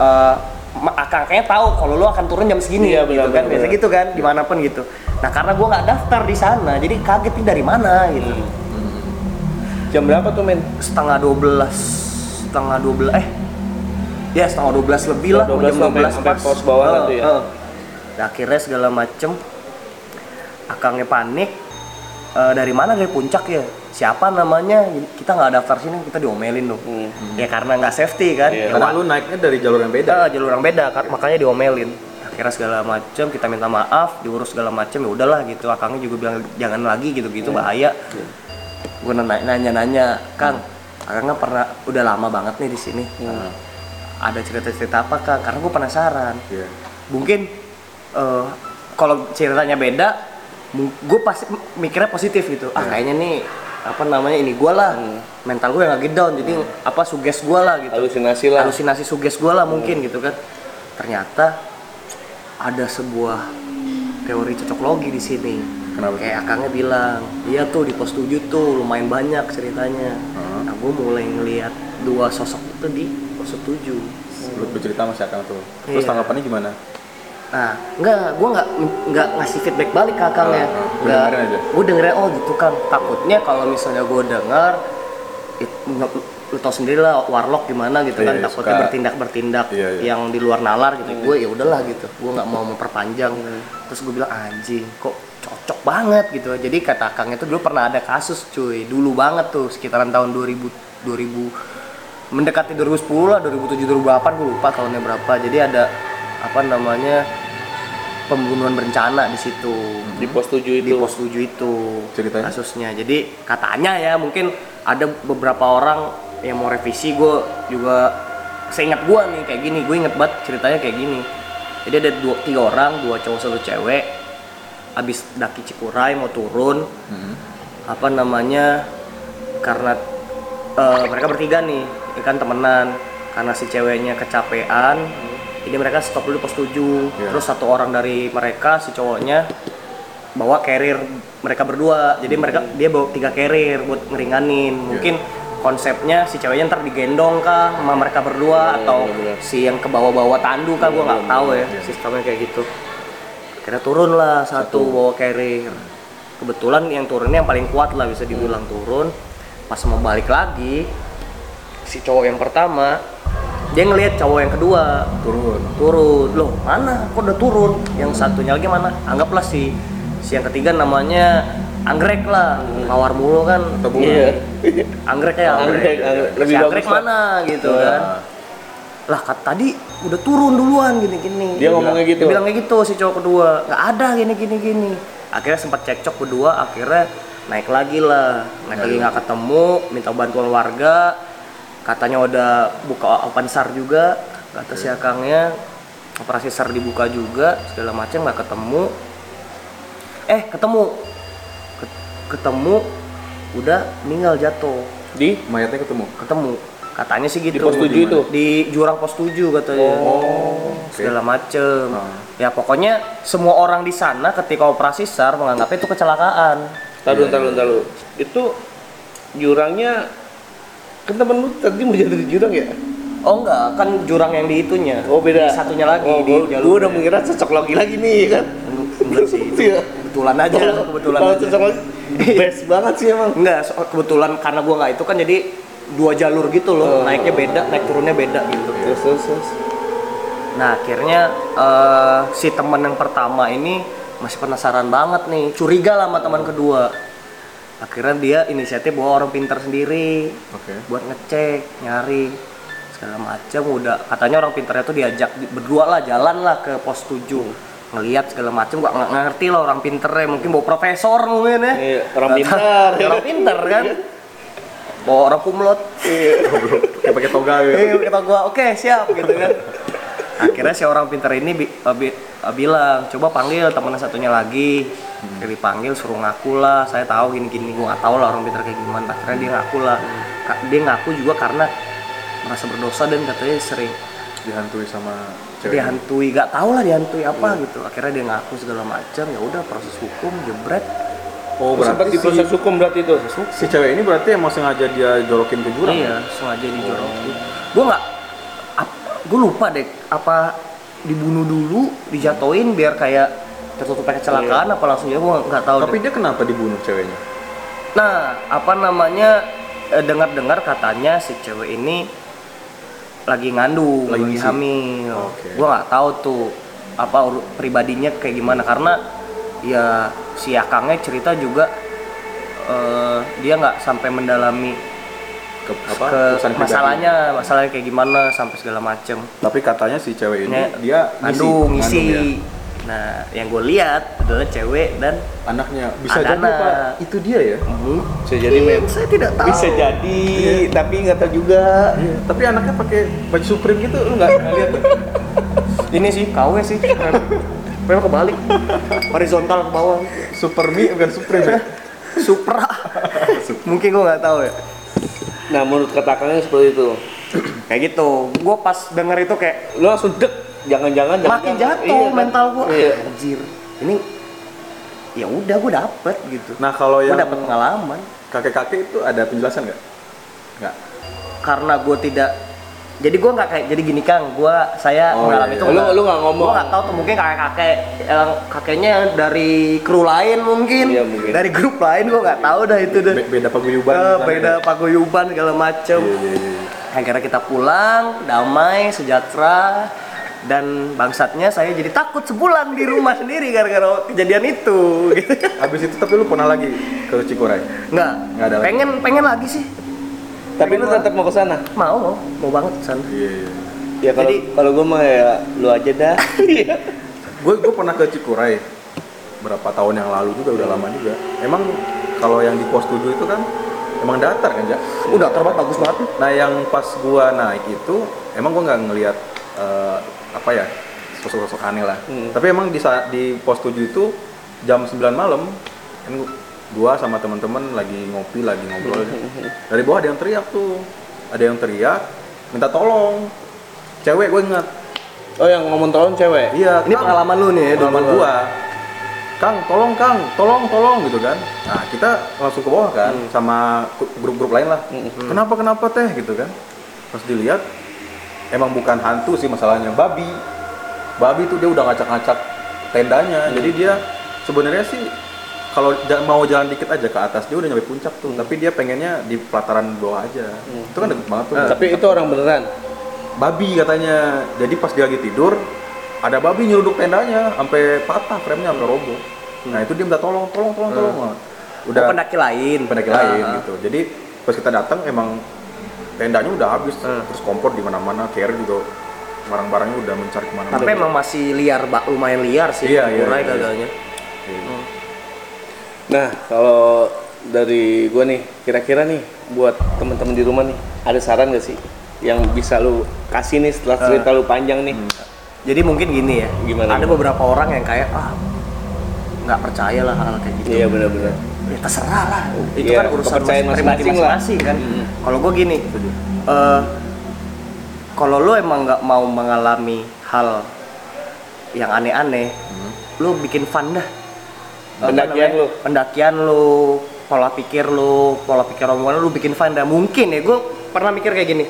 [SPEAKER 3] eh ma- akang-akangnya tahu kalau lu akan turun jam segini
[SPEAKER 2] Iya, benar,
[SPEAKER 3] gitu kan.
[SPEAKER 2] benar,
[SPEAKER 3] Biasa
[SPEAKER 2] benar.
[SPEAKER 3] gitu kan dimanapun gitu. Nah, karena gua nggak daftar di sana, jadi kaget nih dari mana gitu.
[SPEAKER 2] Hmm. Jam berapa tuh, men?
[SPEAKER 3] Setengah 12 setengah 12 eh ya setengah 12 lebih lah,
[SPEAKER 2] Setengah 12
[SPEAKER 3] jam
[SPEAKER 2] sampai-
[SPEAKER 3] 12
[SPEAKER 2] sampai
[SPEAKER 3] pas.
[SPEAKER 2] pos bawah
[SPEAKER 3] Eh,
[SPEAKER 2] nanti ya.
[SPEAKER 3] eh. Nah, akhirnya segala macem akangnya panik Eh, dari mana dari puncak ya siapa namanya kita nggak daftar sini kita diomelin dong ya karena nggak safety kan
[SPEAKER 2] Iya.
[SPEAKER 3] Ya,
[SPEAKER 1] Karena lu naiknya dari jalur yang beda. ya?
[SPEAKER 3] kita jalur yang beda kan makanya diomelin akhirnya segala macem kita minta maaf diurus segala macem ya udahlah gitu akangnya juga bilang jangan lagi gitu gitu bahaya gue nanya nanya nanya kang akangnya pernah udah lama banget nih di sini Eh, ada cerita cerita apa kang karena gue penasaran
[SPEAKER 1] Iya.
[SPEAKER 3] mungkin eh, kalau ceritanya beda gue pasti m- mikirnya positif gitu ah kayaknya nih apa namanya ini gue lah mental gue yang lagi down jadi apa suges gue lah gitu
[SPEAKER 2] Halusinasi lah.
[SPEAKER 3] halusinasi suges gue lah mungkin gitu kan ternyata ada sebuah teori cocok logi di sini
[SPEAKER 1] Kenapa tuh?
[SPEAKER 3] kayak akangnya bilang iya tuh di pos 7 tuh lumayan banyak ceritanya nah gue mulai ngelihat dua sosok itu di pos 7
[SPEAKER 1] Lu, lu cerita masih akan tuh. Terus
[SPEAKER 3] Iya.
[SPEAKER 1] tanggapannya gimana?
[SPEAKER 3] Nah, enggak, gue nggak nggak ngasih feedback balik ke Kang
[SPEAKER 1] Ah, ah,
[SPEAKER 3] ya.
[SPEAKER 1] lu
[SPEAKER 3] Nggak,
[SPEAKER 1] dengerin aja.
[SPEAKER 3] gue dengerin oh gitu Kang. Takutnya kalau misalnya gue denger, it, nge- lu tau sendiri lah warlock gimana gitu
[SPEAKER 1] Iya,
[SPEAKER 3] kan.
[SPEAKER 1] iya,
[SPEAKER 3] Takutnya
[SPEAKER 1] suka.
[SPEAKER 3] bertindak bertindak
[SPEAKER 1] Iya, iya.
[SPEAKER 3] yang di luar nalar gitu. Gue ya udahlah gitu. Gue nggak mau memperpanjang. Terus gue bilang anjing, kok cocok banget gitu. Jadi kata Kang itu dulu pernah ada kasus cuy. Dulu banget tuh sekitaran tahun 2000 2000 mendekati 2010 lah 2007 2008 gue lupa tahunnya berapa jadi ada apa namanya pembunuhan berencana di situ
[SPEAKER 2] Di pos 7 itu.
[SPEAKER 3] di pos 7 itu
[SPEAKER 1] Ceritanya?
[SPEAKER 3] kasusnya jadi katanya ya mungkin ada beberapa orang yang mau revisi gue juga seingat gue nih kayak gini gue inget banget ceritanya kayak gini jadi ada dua tiga orang dua cowok satu cewek abis daki Cikuray mau turun apa namanya karena eh, mereka bertiga nih ya kan temenan karena si ceweknya kecapean jadi mereka stop dulu di pos 7
[SPEAKER 1] Iya.
[SPEAKER 3] terus satu orang dari mereka si cowoknya bawa carrier mereka berdua jadi mereka dia bawa tiga carrier buat ngeringanin mungkin konsepnya si ceweknya ntar digendong kah sama mereka berdua atau si yang ke bawah-bawah tandu kah gua nggak tahu ya sistemnya kayak gitu akhirnya turun lah satu, bawa carrier kebetulan yang turunnya yang paling kuat lah bisa dibilang
[SPEAKER 2] Hmm.
[SPEAKER 3] turun pas mau balik lagi si cowok yang pertama dia ngelihat cowok yang kedua
[SPEAKER 1] Turun.
[SPEAKER 3] turun loh mana kok udah turun yang satunya lagi mana anggaplah si si yang ketiga namanya anggrek lah
[SPEAKER 2] Hmm.
[SPEAKER 3] mawar mulu kan
[SPEAKER 1] Atau bunga?
[SPEAKER 2] Iya.
[SPEAKER 3] anggrek ya
[SPEAKER 2] Anggrek, anggrek.
[SPEAKER 3] si
[SPEAKER 2] lebih
[SPEAKER 3] anggrek
[SPEAKER 2] bagus. lah. Iya.
[SPEAKER 3] mana gitu kan
[SPEAKER 1] Nah,
[SPEAKER 3] lah kat tadi udah turun duluan gini gini
[SPEAKER 2] Dia ngomongnya gitu.
[SPEAKER 3] dia bilangnya gitu si cowok kedua nggak ada gini gini gini akhirnya sempat cekcok berdua akhirnya naik lagi lah naik lagi nggak ketemu minta bantuan warga katanya udah buka open sar juga kata si
[SPEAKER 2] Iya.
[SPEAKER 3] akangnya operasi sar dibuka juga segala macam nggak ketemu eh ketemu Ket- ketemu udah meninggal jatuh
[SPEAKER 2] Di
[SPEAKER 1] Mayatnya ketemu.
[SPEAKER 3] ketemu katanya sih gitu
[SPEAKER 2] Di pos tujuh itu?
[SPEAKER 3] di jurang pos 7 katanya segala macem ya pokoknya semua orang di sana ketika operasi sar menganggapnya itu kecelakaan
[SPEAKER 2] Taruh,
[SPEAKER 3] Iya.
[SPEAKER 2] taruh, taruh. Itu jurangnya kan temen lu tadi mau jatuh di jurang ya?
[SPEAKER 3] oh enggak kan jurang yang di itunya
[SPEAKER 2] Oh beda.
[SPEAKER 3] Di satunya lagi
[SPEAKER 2] Oh,
[SPEAKER 3] di
[SPEAKER 2] gua- gua udah mengira cocok lagi lagi nih ya kan.
[SPEAKER 3] enggak sih
[SPEAKER 2] Itu ya.
[SPEAKER 3] kebetulan aja Oh, kebetulan
[SPEAKER 2] Kalau
[SPEAKER 3] aja.
[SPEAKER 2] cocok lagi best banget sih emang.
[SPEAKER 3] enggak so- kebetulan karena gua nggak itu kan jadi dua jalur gitu loh naiknya beda naik turunnya beda gitu
[SPEAKER 2] Terus terus terus.
[SPEAKER 3] Nah akhirnya eh, si teman yang pertama ini masih penasaran banget nih, curiga lah sama teman kedua. Akhirnya dia inisiatif bawa orang pintar sendiri
[SPEAKER 1] Oke.
[SPEAKER 3] buat ngecek, nyari segala macam udah katanya orang pintarnya tuh diajak di- berdua lah jalan lah ke pos 7 ngelihat segala macam gua nggak ngerti lah orang pinternya mungkin bawa profesor mungkin ya
[SPEAKER 2] Iya, orang
[SPEAKER 3] Nggak tahu.
[SPEAKER 2] pintar. Iya.
[SPEAKER 3] orang pintar kan bawa orang kumlot
[SPEAKER 1] Kayak pakai toga gitu.
[SPEAKER 3] eh kata gua oke siap gitu kan akhirnya si orang pintar ini bi- eh, bi- eh, bilang coba panggil teman satunya lagi Akhirnya dipanggil suruh ngaku lah saya tahu gini gini gua nggak tahu lah orang pintar kayak gimana akhirnya dia ngaku lah Ka- dia ngaku juga karena merasa berdosa dan katanya sering
[SPEAKER 1] Dihantui sama cewek.
[SPEAKER 3] dihantui nggak tahu lah dihantui apa gitu akhirnya dia ngaku segala macam ya udah proses hukum jebret
[SPEAKER 1] Oh,
[SPEAKER 2] Sempat
[SPEAKER 1] berarti
[SPEAKER 2] di proses
[SPEAKER 1] si,
[SPEAKER 2] hukum berarti itu.
[SPEAKER 1] si cewek ini berarti emang sengaja dia jorokin ke jurang. ya?
[SPEAKER 3] Iya, sengaja dijorokin. Gue Oh. nggak, gue lupa deh apa dibunuh dulu, dijatuhin biar kayak tertutupnya kecelakaan apa langsung ya gue nggak tahu.
[SPEAKER 1] Iya. Tapi
[SPEAKER 3] deh.
[SPEAKER 1] dia kenapa dibunuh ceweknya?
[SPEAKER 3] nah apa namanya eh, dengar-dengar katanya si cewek ini lagi ngandung,
[SPEAKER 1] Lagi
[SPEAKER 3] lagi
[SPEAKER 1] ngisi.
[SPEAKER 3] hamil.
[SPEAKER 1] Oke.
[SPEAKER 3] Gue nggak tahu tuh apa ur- pribadinya kayak gimana karena ya si akangnya cerita juga eh, dia nggak sampai mendalami
[SPEAKER 1] Ke, apa?
[SPEAKER 3] ke
[SPEAKER 1] urusan pribadi.
[SPEAKER 3] masalahnya masalahnya kayak gimana sampai segala macem
[SPEAKER 1] Tapi katanya si cewek ini
[SPEAKER 3] Nek,
[SPEAKER 1] dia ngisi,
[SPEAKER 3] ngandung ngisi
[SPEAKER 1] ngandung ya.
[SPEAKER 3] nah yang gue lihat adalah cewek dan
[SPEAKER 1] Anaknya bisa
[SPEAKER 3] Ada
[SPEAKER 1] jadi
[SPEAKER 3] anak.
[SPEAKER 1] Pak. Itu dia ya.
[SPEAKER 2] Bisa jadi mem.
[SPEAKER 3] saya tidak tahu
[SPEAKER 2] Bisa jadi, tapi nggak tahu juga.
[SPEAKER 1] Iya, Tapi anaknya pakai baju Supreme gitu lu nggak nggak lihat.
[SPEAKER 3] ini sih KW sih memang kebalik horizontal ke bawah
[SPEAKER 1] Super Mi bukan Supreme ya?
[SPEAKER 3] supra mungkin gue nggak tahu ya
[SPEAKER 2] Nah, menurut katakannya seperti itu.
[SPEAKER 3] kayak gitu gue pas denger itu kayak kan?
[SPEAKER 2] Lu langsung dek, jangan-jangan
[SPEAKER 3] makin
[SPEAKER 2] jangan-jangan.
[SPEAKER 3] jatuh
[SPEAKER 2] Iya,
[SPEAKER 3] mental gue
[SPEAKER 2] Iya.
[SPEAKER 3] anjir ini ya udah gue dapet gitu
[SPEAKER 1] Nah, kalau
[SPEAKER 3] gue
[SPEAKER 1] yang
[SPEAKER 3] dapet pengalaman
[SPEAKER 1] kakek-kakek itu ada penjelasan nggak? Nggak.
[SPEAKER 3] karena gue tidak jadi gue nggak kayak jadi gini kang gue saya
[SPEAKER 1] Oh,
[SPEAKER 3] mengalami
[SPEAKER 1] iya, iya.
[SPEAKER 3] itu
[SPEAKER 2] Lu- lu nggak ngomong.
[SPEAKER 3] gue nggak tahu tuh mungkin kakek kakek kakeknya dari kru lain mungkin,
[SPEAKER 2] Iya, mungkin.
[SPEAKER 3] dari grup lain gue nggak tahu dah itu deh
[SPEAKER 1] Be- beda paguyuban.
[SPEAKER 3] Eh,
[SPEAKER 1] misalnya.
[SPEAKER 3] beda paguyuban segala macem
[SPEAKER 1] Iya, iya, iya.
[SPEAKER 3] akhirnya kita pulang damai sejahtera dan bangsatnya saya jadi takut sebulan di rumah sendiri gara-gara kejadian itu gitu
[SPEAKER 1] Habis itu tapi lu pernah lagi ke Cikuray.
[SPEAKER 3] nggak
[SPEAKER 1] Nggak ada lagi.
[SPEAKER 3] pengen pengen lagi sih
[SPEAKER 2] Tapi lu tetap mau ke sana.
[SPEAKER 3] mau mau, mau banget kesana
[SPEAKER 1] Iya, iya.
[SPEAKER 2] Ya kalau
[SPEAKER 3] Jadi-
[SPEAKER 2] kalau gua mah ya lu aja dah. Iya.
[SPEAKER 1] Gue gue pernah ke Cikuray berapa tahun yang lalu juga udah lama juga. Emang kalau yang di pos 7 itu kan emang datar kan, Jak?
[SPEAKER 3] udah terbat bagus banget
[SPEAKER 1] Nah yang pas gua naik itu emang gua nggak ngelihat eh, apa ya sosok-sosok aneh lah.
[SPEAKER 3] Hmm.
[SPEAKER 1] Tapi emang di sa- di pos 7 itu jam 9 malam kan gua- gua sama teman-teman lagi ngopi lagi ngobrol.
[SPEAKER 3] Hmm,
[SPEAKER 1] Dari bawah ada yang teriak tuh. Ada yang teriak minta tolong. Cewek gue ingat.
[SPEAKER 2] Oh yang ngomong tolong cewek.
[SPEAKER 1] Iya,
[SPEAKER 3] Ini
[SPEAKER 1] Kang.
[SPEAKER 3] pengalaman lu nih ya,
[SPEAKER 1] pengalaman
[SPEAKER 3] dulu.
[SPEAKER 1] gua. Kang, tolong Kang, tolong tolong gitu kan. Nah, kita langsung ke bawah kan sama ku- grup-grup lain lah. Kenapa kenapa teh gitu kan. Terus dilihat emang bukan hantu sih masalahnya babi. Babi tuh dia udah ngacak-ngacak tendanya. Jadi dia sebenarnya sih kalau ja- mau jalan dikit aja ke atas dia udah nyampe puncak tuh, tapi dia pengennya di pelataran bawah aja. Itu kan deket banget tuh.
[SPEAKER 2] Ah, Tapi itu orang beneran.
[SPEAKER 1] babi katanya jadi pas dia lagi tidur ada babi nyeruduk tendanya sampai patah frame-nya sampai roboh nah itu dia minta tolong tolong tolong tolong udah
[SPEAKER 3] udah pendaki lain
[SPEAKER 1] pendaki
[SPEAKER 3] Ah,
[SPEAKER 1] lain gitu jadi pas kita datang emang tendanya udah habis
[SPEAKER 3] Hmm.
[SPEAKER 1] terus kompor di mana-mana carrier juga barang-barangnya udah mencari kemana-mana
[SPEAKER 3] tapi emang masih liar bak lumayan liar sih
[SPEAKER 1] Iya, iya,
[SPEAKER 3] Murai
[SPEAKER 1] iya.
[SPEAKER 3] gagalnya
[SPEAKER 1] Iya.
[SPEAKER 2] Nah, kalau dari gua nih, kira-kira nih buat teman-teman di rumah nih, ada saran gak sih yang bisa lu kasih nih setelah cerita lu panjang nih?
[SPEAKER 3] Jadi mungkin gini ya.
[SPEAKER 2] Gimana,
[SPEAKER 3] Ada
[SPEAKER 2] gimana?
[SPEAKER 3] beberapa orang yang kayak ah nggak percaya lah hal kayak gitu.
[SPEAKER 2] Iya benar-benar.
[SPEAKER 3] Ya terserah lah. Itu
[SPEAKER 2] Iya,
[SPEAKER 3] kan urusan
[SPEAKER 2] kepercayaan
[SPEAKER 3] mas- pribadi
[SPEAKER 2] masing-masing lah. Mm-hmm.
[SPEAKER 3] masing-masing kan. Kalau gue gini, eh, kalau lu emang nggak mau mengalami hal yang aneh-aneh, lu bikin fun dah. Eh, apa
[SPEAKER 2] Mm-hmm. Pendakian
[SPEAKER 3] namanya?
[SPEAKER 2] lu.
[SPEAKER 3] pendakian lu, pola pikir lu, pola pikir omongan lu bikin fun dah. Mungkin ya, gue pernah mikir kayak gini.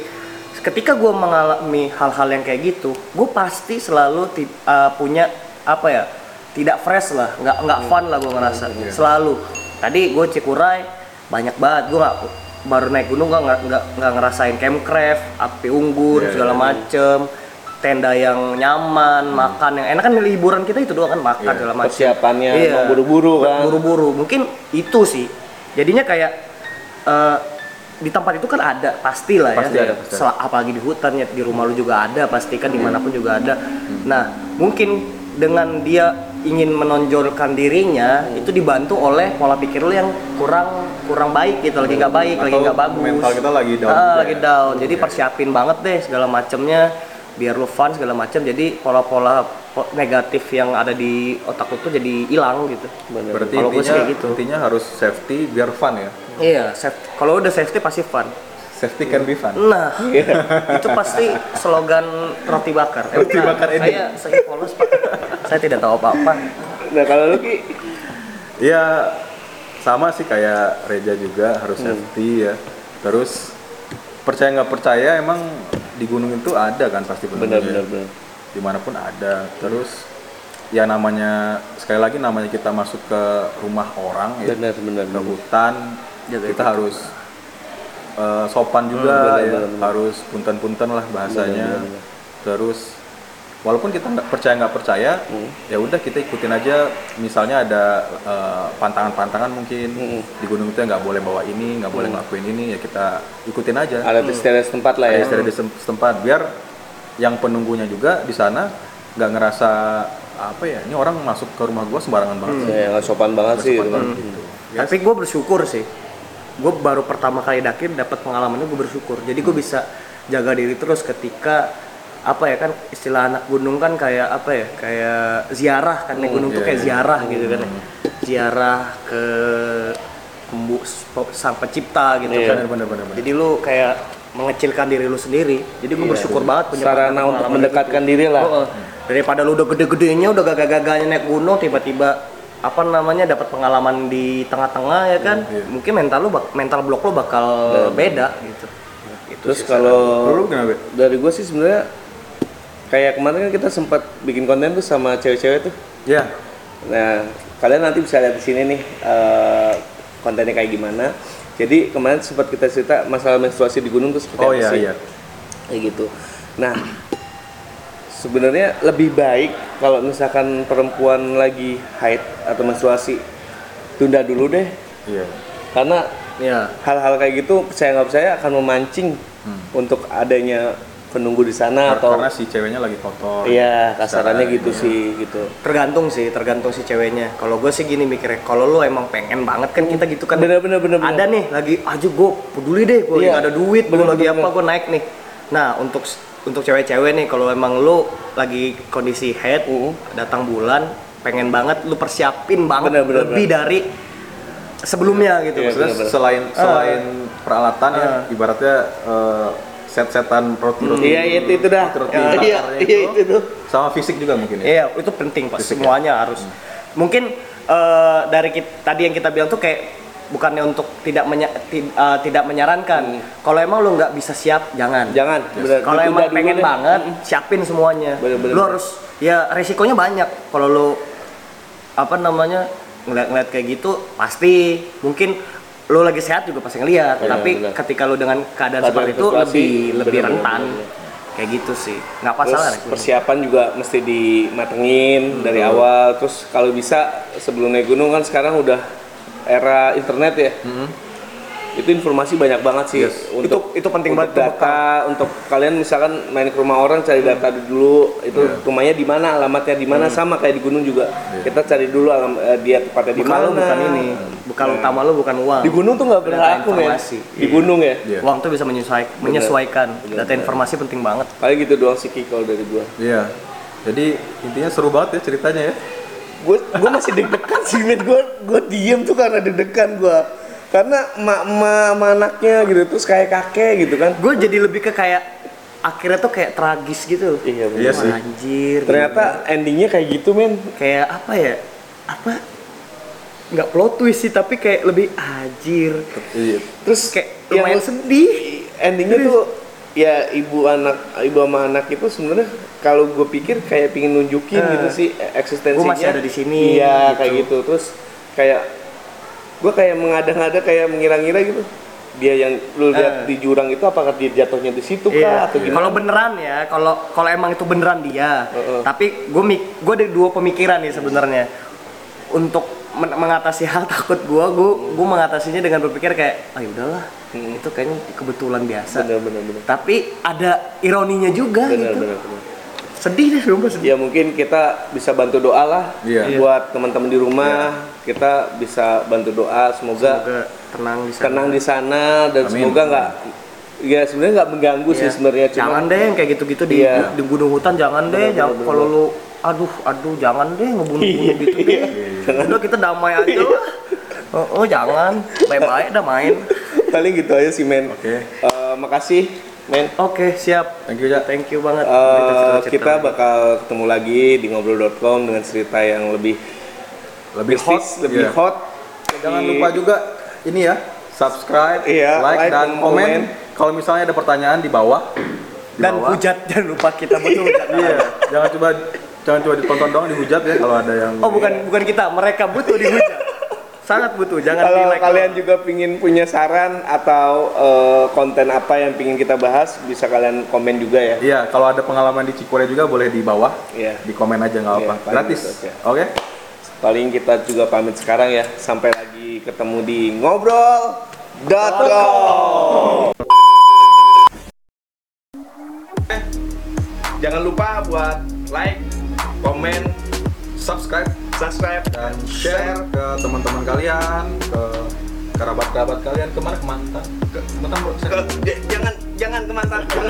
[SPEAKER 3] Ketika gue mengalami hal-hal yang kayak gitu, gue pasti selalu ti- eh, punya apa ya? Tidak fresh lah, nggak
[SPEAKER 1] Hmm.
[SPEAKER 3] nggak fun lah gue ngerasa.
[SPEAKER 1] iya.
[SPEAKER 3] Selalu. Tadi gue cikurai banyak banget. Gue nggak baru naik gunung gue nggak nggak nggak ngerasain campcraft, api unggun
[SPEAKER 1] Iya,
[SPEAKER 3] segala
[SPEAKER 1] iya. Hmm.
[SPEAKER 3] macem tenda yang nyaman, makan yang enak kan liburan kita itu doang kan makan
[SPEAKER 1] Iya.
[SPEAKER 3] segala macam
[SPEAKER 2] Persiapannya emang buru-buru kan.
[SPEAKER 3] Iya. buru-buru mungkin itu sih jadinya kayak eh, di tempat itu kan ada pastilah
[SPEAKER 1] Pasti ada,
[SPEAKER 3] ya
[SPEAKER 1] pasti ada.
[SPEAKER 3] Sel- apalagi di hutan ya di rumah lu juga ada pasti kan dimanapun juga ada
[SPEAKER 1] Hmm.
[SPEAKER 3] nah mungkin dengan dia ingin menonjolkan dirinya
[SPEAKER 1] Hmm.
[SPEAKER 3] itu dibantu oleh pola pikir lu yang kurang kurang baik gitu lagi nggak baik lagi
[SPEAKER 1] Atau
[SPEAKER 3] nggak bagus
[SPEAKER 1] mental kita lagi down
[SPEAKER 3] Ah,
[SPEAKER 1] juga
[SPEAKER 3] lagi
[SPEAKER 1] ya.
[SPEAKER 3] down jadi persiapin banget deh segala macemnya biar lu fun segala macem jadi pola-pola po- negatif yang ada di otak lu tuh jadi hilang gitu
[SPEAKER 1] Berarti
[SPEAKER 3] Kalau gue sih
[SPEAKER 1] intinya,
[SPEAKER 3] kayak gitu.
[SPEAKER 1] intinya harus safety biar fun ya.
[SPEAKER 3] Iya, safety. Kalau udah safety pasti fun.
[SPEAKER 1] Safety can be fun.
[SPEAKER 3] Nah, itu pasti slogan roti bakar.
[SPEAKER 1] Iya. Roti
[SPEAKER 3] bukan.
[SPEAKER 1] bakar ini.
[SPEAKER 3] Saya saya polos pak. saya tidak tahu apa-apa.
[SPEAKER 2] Nah kalau lu ki
[SPEAKER 1] Iya sama sih kayak Reja juga harus
[SPEAKER 2] Hmm.
[SPEAKER 1] safety ya. Terus percaya nggak percaya emang di gunung itu ada kan pasti
[SPEAKER 2] benar
[SPEAKER 1] penunggunya.
[SPEAKER 2] benar benar.
[SPEAKER 1] Dimanapun ada. Terus ya namanya sekali lagi namanya kita masuk ke rumah orang ya
[SPEAKER 2] Benar benar.
[SPEAKER 1] ke
[SPEAKER 2] benar.
[SPEAKER 1] hutan
[SPEAKER 3] Jaga
[SPEAKER 1] kita harus eh, sopan juga
[SPEAKER 2] benar,
[SPEAKER 1] ya
[SPEAKER 2] benar, benar.
[SPEAKER 1] harus punten-punten lah bahasanya
[SPEAKER 2] Benar, benar, benar.
[SPEAKER 1] terus walaupun kita nggak percaya nggak percaya ya udah kita ikutin aja misalnya ada eh, pantangan-pantangan mungkin di gunung itu ya nggak boleh bawa ini nggak boleh ngelakuin ini ya kita ikutin aja
[SPEAKER 2] Adat istiadat setempat lah ya.
[SPEAKER 1] ada istirahat di sem- setempat biar yang penunggunya juga di sana nggak ngerasa apa ya ini orang masuk ke rumah gua sembarangan banget sih. Gitu.
[SPEAKER 2] Ya, nggak sopan banget sih. itu kan.
[SPEAKER 3] Tapi gue bersyukur sih. Gue baru pertama kali daki dapat pengalamannya gue bersyukur. Jadi
[SPEAKER 2] Hmm.
[SPEAKER 3] gue bisa jaga diri terus ketika apa ya kan istilah anak gunung kan kayak apa ya kayak ziarah kan
[SPEAKER 2] Oh,
[SPEAKER 3] naik gunung tuh
[SPEAKER 1] iya,
[SPEAKER 3] kayak
[SPEAKER 1] iya.
[SPEAKER 3] ziarah gitu kan
[SPEAKER 2] Hmm.
[SPEAKER 3] ya. ziarah ke pembu- sang pencipta gitu
[SPEAKER 2] Iya.
[SPEAKER 3] kan
[SPEAKER 1] bener bener bener bener.
[SPEAKER 3] Jadi lu kayak mengecilkan diri lu sendiri. Jadi gue bersyukur banget
[SPEAKER 2] Iya,
[SPEAKER 3] punya gitu.
[SPEAKER 2] Sarana untuk mendekatkan diri lah.
[SPEAKER 3] Oh, eh. daripada lu udah gede-gedenya, udah gagah-gagahnya naik gunung, tiba-tiba apa namanya dapat pengalaman di tengah-tengah ya kan?
[SPEAKER 1] Iya, iya.
[SPEAKER 3] Mungkin mental lu bak- mental blok lu bakal beda gitu. Itu
[SPEAKER 2] Terus
[SPEAKER 3] sih.
[SPEAKER 1] Lu-
[SPEAKER 2] kalau
[SPEAKER 1] lu kenapa?
[SPEAKER 2] dari gue sih sebenarnya kayak kemarin kan kita sempat bikin konten tuh sama cewek-cewek tuh.
[SPEAKER 1] Ya,
[SPEAKER 2] Nah, kalian nanti bisa lihat di sini nih eh, kontennya kayak gimana. Jadi kemarin sempat kita cerita masalah menstruasi di gunung tuh seperti
[SPEAKER 1] Oh
[SPEAKER 2] apa
[SPEAKER 1] iya
[SPEAKER 2] sih?
[SPEAKER 1] iya.
[SPEAKER 2] Kayak gitu. Nah, sebenarnya lebih baik kalau misalkan perempuan lagi haid atau menstruasi tunda dulu deh
[SPEAKER 1] Iya.
[SPEAKER 2] karena
[SPEAKER 3] ya.
[SPEAKER 2] hal-hal kayak gitu percaya nggak percaya akan memancing untuk adanya penunggu di sana Nah, atau
[SPEAKER 1] Hmm. Karena si ceweknya lagi kotor.
[SPEAKER 2] iya kasarannya
[SPEAKER 1] Secara-
[SPEAKER 2] gitu sih gitu.
[SPEAKER 3] Tergantung sih, tergantung si ceweknya. Kalau gue sih gini mikirnya, kalau lu emang pengen banget kan kita gitu kan.
[SPEAKER 2] Bener-bener bener-bener.
[SPEAKER 3] Ada nih lagi aja gue peduli deh, gue
[SPEAKER 2] Iya.
[SPEAKER 3] nggak ada duit, gue
[SPEAKER 2] Bener-bener.
[SPEAKER 3] lagi apa gue naik nih. Nah untuk untuk cewek-cewek nih, kalau emang lu lagi kondisi head,
[SPEAKER 2] Mm.
[SPEAKER 3] datang bulan, pengen banget, lu persiapin banget
[SPEAKER 2] Bener-bener.
[SPEAKER 3] lebih dari sebelumnya gitu.
[SPEAKER 2] Iya,
[SPEAKER 1] Maksudnya
[SPEAKER 2] bener-bener.
[SPEAKER 1] selain selain peralatan ya, ibaratnya eh, set-setan roti-roti.
[SPEAKER 2] Iya itu itu dah.
[SPEAKER 1] Roti-roti
[SPEAKER 2] Iya
[SPEAKER 1] bakarnya
[SPEAKER 2] iya
[SPEAKER 1] itu.
[SPEAKER 2] itu tuh.
[SPEAKER 1] Sama fisik juga mungkin ya.
[SPEAKER 3] Iya, itu penting pak. Semuanya harus.
[SPEAKER 2] Hmm.
[SPEAKER 3] Mungkin eh, dari kita, tadi yang kita bilang tuh kayak bukannya untuk tidak menya- ti- eh, tidak menyarankan. Kalau emang lu nggak bisa siap, jangan.
[SPEAKER 2] Hmm. Jangan. bener.
[SPEAKER 3] Kalau
[SPEAKER 2] Ditunda
[SPEAKER 3] emang
[SPEAKER 2] dulu
[SPEAKER 3] pengen
[SPEAKER 2] deh. Hmm.
[SPEAKER 3] banget, siapin semuanya.
[SPEAKER 2] Bener, bener,
[SPEAKER 3] Lu
[SPEAKER 2] bener.
[SPEAKER 3] harus ya resikonya banyak. Kalau lu apa namanya ngeliat-ngeliat kayak gitu, pasti mungkin lu lagi sehat juga pasti ngeliat.
[SPEAKER 2] Bener,
[SPEAKER 3] Tapi
[SPEAKER 2] Iya, bener.
[SPEAKER 3] ketika lu dengan keadaan
[SPEAKER 2] Keadaan
[SPEAKER 3] seperti itu
[SPEAKER 2] situasi,
[SPEAKER 3] lebih lebih
[SPEAKER 2] bener, bener,
[SPEAKER 3] rentan.
[SPEAKER 2] bener.
[SPEAKER 3] Kayak gitu sih. Nggak
[SPEAKER 2] Terus
[SPEAKER 3] masalah.
[SPEAKER 2] persiapan juga mesti dimatengin dari
[SPEAKER 3] Hmm.
[SPEAKER 2] awal. Terus kalau bisa sebelum naik gunung kan sekarang udah era internet ya. itu informasi banyak banget sih untuk
[SPEAKER 3] Hmm. Itu- itu penting
[SPEAKER 2] untuk
[SPEAKER 3] banget tuh
[SPEAKER 2] data untuk kalian misalkan main ke rumah orang cari data
[SPEAKER 3] Hmm.
[SPEAKER 2] dulu itu
[SPEAKER 3] Iya.
[SPEAKER 2] rumahnya di mana alamatnya di mana sama kayak di gunung juga kita cari dulu alam, eh, dia tempatnya di
[SPEAKER 3] Bekal
[SPEAKER 2] mana
[SPEAKER 3] lu bukan ini. Bekal
[SPEAKER 2] Iya.
[SPEAKER 3] utama lu bukan uang.
[SPEAKER 2] di gunung tuh nggak berlaku men
[SPEAKER 3] informasi.
[SPEAKER 2] di gunung ya
[SPEAKER 1] Iya.
[SPEAKER 3] Uang tuh bisa menyesuai- menyesuaikan. Data informasi penting banget.
[SPEAKER 2] paling gitu doang sih Ki, kalau dari gua
[SPEAKER 1] Iya. Jadi intinya seru banget ya ceritanya ya.
[SPEAKER 4] gue gue masih deg-degan sih men gue gue diem tuh karena deg-degan gue karena emak emak sama anaknya gitu terus kayak kakek gitu kan
[SPEAKER 3] Gue jadi lebih ke kayak akhirnya tuh kayak tragis gitu.
[SPEAKER 2] iya bener.
[SPEAKER 1] Iya sih.
[SPEAKER 3] Wah, Anjir.
[SPEAKER 2] ternyata endingnya kayak gitu men
[SPEAKER 3] kayak apa ya? Apa? Nggak plot twist sih, tapi kayak lebih anjir.
[SPEAKER 1] Iya.
[SPEAKER 3] Terus kayak
[SPEAKER 2] yang-
[SPEAKER 3] lumayan sedih.
[SPEAKER 2] endingnya tuh ya ibu anak ibu sama anak itu sebenarnya kalau gue pikir kayak pingin nunjukin
[SPEAKER 3] Eh,
[SPEAKER 2] gitu sih eksistensinya
[SPEAKER 3] gua masih ada di sini,
[SPEAKER 2] iya
[SPEAKER 3] gitu.
[SPEAKER 2] kayak gitu terus kayak gue kayak mengada-ngada kayak mengira-ngira gitu dia yang lu lihat di jurang itu apakah dia jatuhnya di situ kah
[SPEAKER 3] Ah. Iya.
[SPEAKER 2] atau gimana
[SPEAKER 3] Kalau beneran ya, kalau kalau emang itu beneran dia.
[SPEAKER 2] Heeh.
[SPEAKER 3] Tapi gue mik gue ada dua pemikiran nih sebenarnya. Untuk men- mengatasi hal takut gue, gue gue mengatasinya dengan berpikir kayak, ah udahlah, itu kayaknya kebetulan biasa.
[SPEAKER 2] Hmm. bener bener bener
[SPEAKER 3] Tapi ada ironinya juga
[SPEAKER 2] bener
[SPEAKER 3] gitu.
[SPEAKER 2] bener, bener.
[SPEAKER 3] Sedih deh, sumpah sedih.
[SPEAKER 2] ya mungkin kita bisa bantu doa lah
[SPEAKER 1] Iya.
[SPEAKER 2] buat teman-teman di rumah kita bisa bantu doa semoga
[SPEAKER 3] Semoga tenang di sana.
[SPEAKER 2] tenang di sana dan
[SPEAKER 1] Amin.
[SPEAKER 2] semoga nggak ya sebenarnya nggak mengganggu sih
[SPEAKER 3] Iya.
[SPEAKER 2] sebenarnya cuma
[SPEAKER 3] Jangan deh yang kayak gitu-gitu di,
[SPEAKER 2] Iya.
[SPEAKER 3] di gunung hutan, jangan deh. Jangan kalau lu aduh aduh jangan deh
[SPEAKER 2] Iya,
[SPEAKER 3] ngebunuh-bunuh gitu deh. Udah kita damai aja lah. Oh, oh, jangan. Baik-baik dah main.
[SPEAKER 2] paling gitu aja sih men
[SPEAKER 1] Oke.
[SPEAKER 2] Eh, makasih men
[SPEAKER 3] Oke, siap.
[SPEAKER 1] Thank you, Ja.
[SPEAKER 3] Thank you banget.
[SPEAKER 2] Eh, kita bakal ketemu lagi di ngobrol.com dengan cerita yang lebih lebih hot
[SPEAKER 1] stis,
[SPEAKER 2] lebih
[SPEAKER 1] iya.
[SPEAKER 2] hot
[SPEAKER 1] Jangan
[SPEAKER 2] lebih-
[SPEAKER 1] lupa juga ini ya, subscribe,
[SPEAKER 2] Iya,
[SPEAKER 1] like,
[SPEAKER 2] like,
[SPEAKER 1] dan
[SPEAKER 2] dan
[SPEAKER 1] komen.
[SPEAKER 2] komen.
[SPEAKER 1] Kalau misalnya ada pertanyaan di bawah, di
[SPEAKER 3] dan
[SPEAKER 1] bawah.
[SPEAKER 3] hujat jangan lupa kita betul
[SPEAKER 1] Iya, jangan coba jangan coba ditonton doang dihujat ya kalau ada yang
[SPEAKER 3] Oh, bukan bukan kita, mereka butuh dihujat. Sangat butuh, jangan
[SPEAKER 2] kalau
[SPEAKER 3] di-like
[SPEAKER 2] kalian juga pingin punya saran atau eh, konten apa yang pingin kita bahas bisa kalian komen juga ya
[SPEAKER 1] Iya, kalau ada pengalaman di Cikure juga boleh di bawah.
[SPEAKER 2] Iya.
[SPEAKER 1] Di komen aja nggak
[SPEAKER 2] Iya,
[SPEAKER 1] apa.
[SPEAKER 2] paling
[SPEAKER 1] Gratis.
[SPEAKER 2] gitu aja.
[SPEAKER 1] Oke.
[SPEAKER 2] paling kita juga pamit sekarang ya sampai lagi ketemu di ngobrol.com Eh, jangan lupa buat like komen
[SPEAKER 1] Subscribe
[SPEAKER 2] subscribe
[SPEAKER 1] dan share ke teman-teman kalian, ke kerabat-kerabat kalian, kemana ke mantan, ke mantan bro.
[SPEAKER 2] Ke- j- jangan jangan teman jangan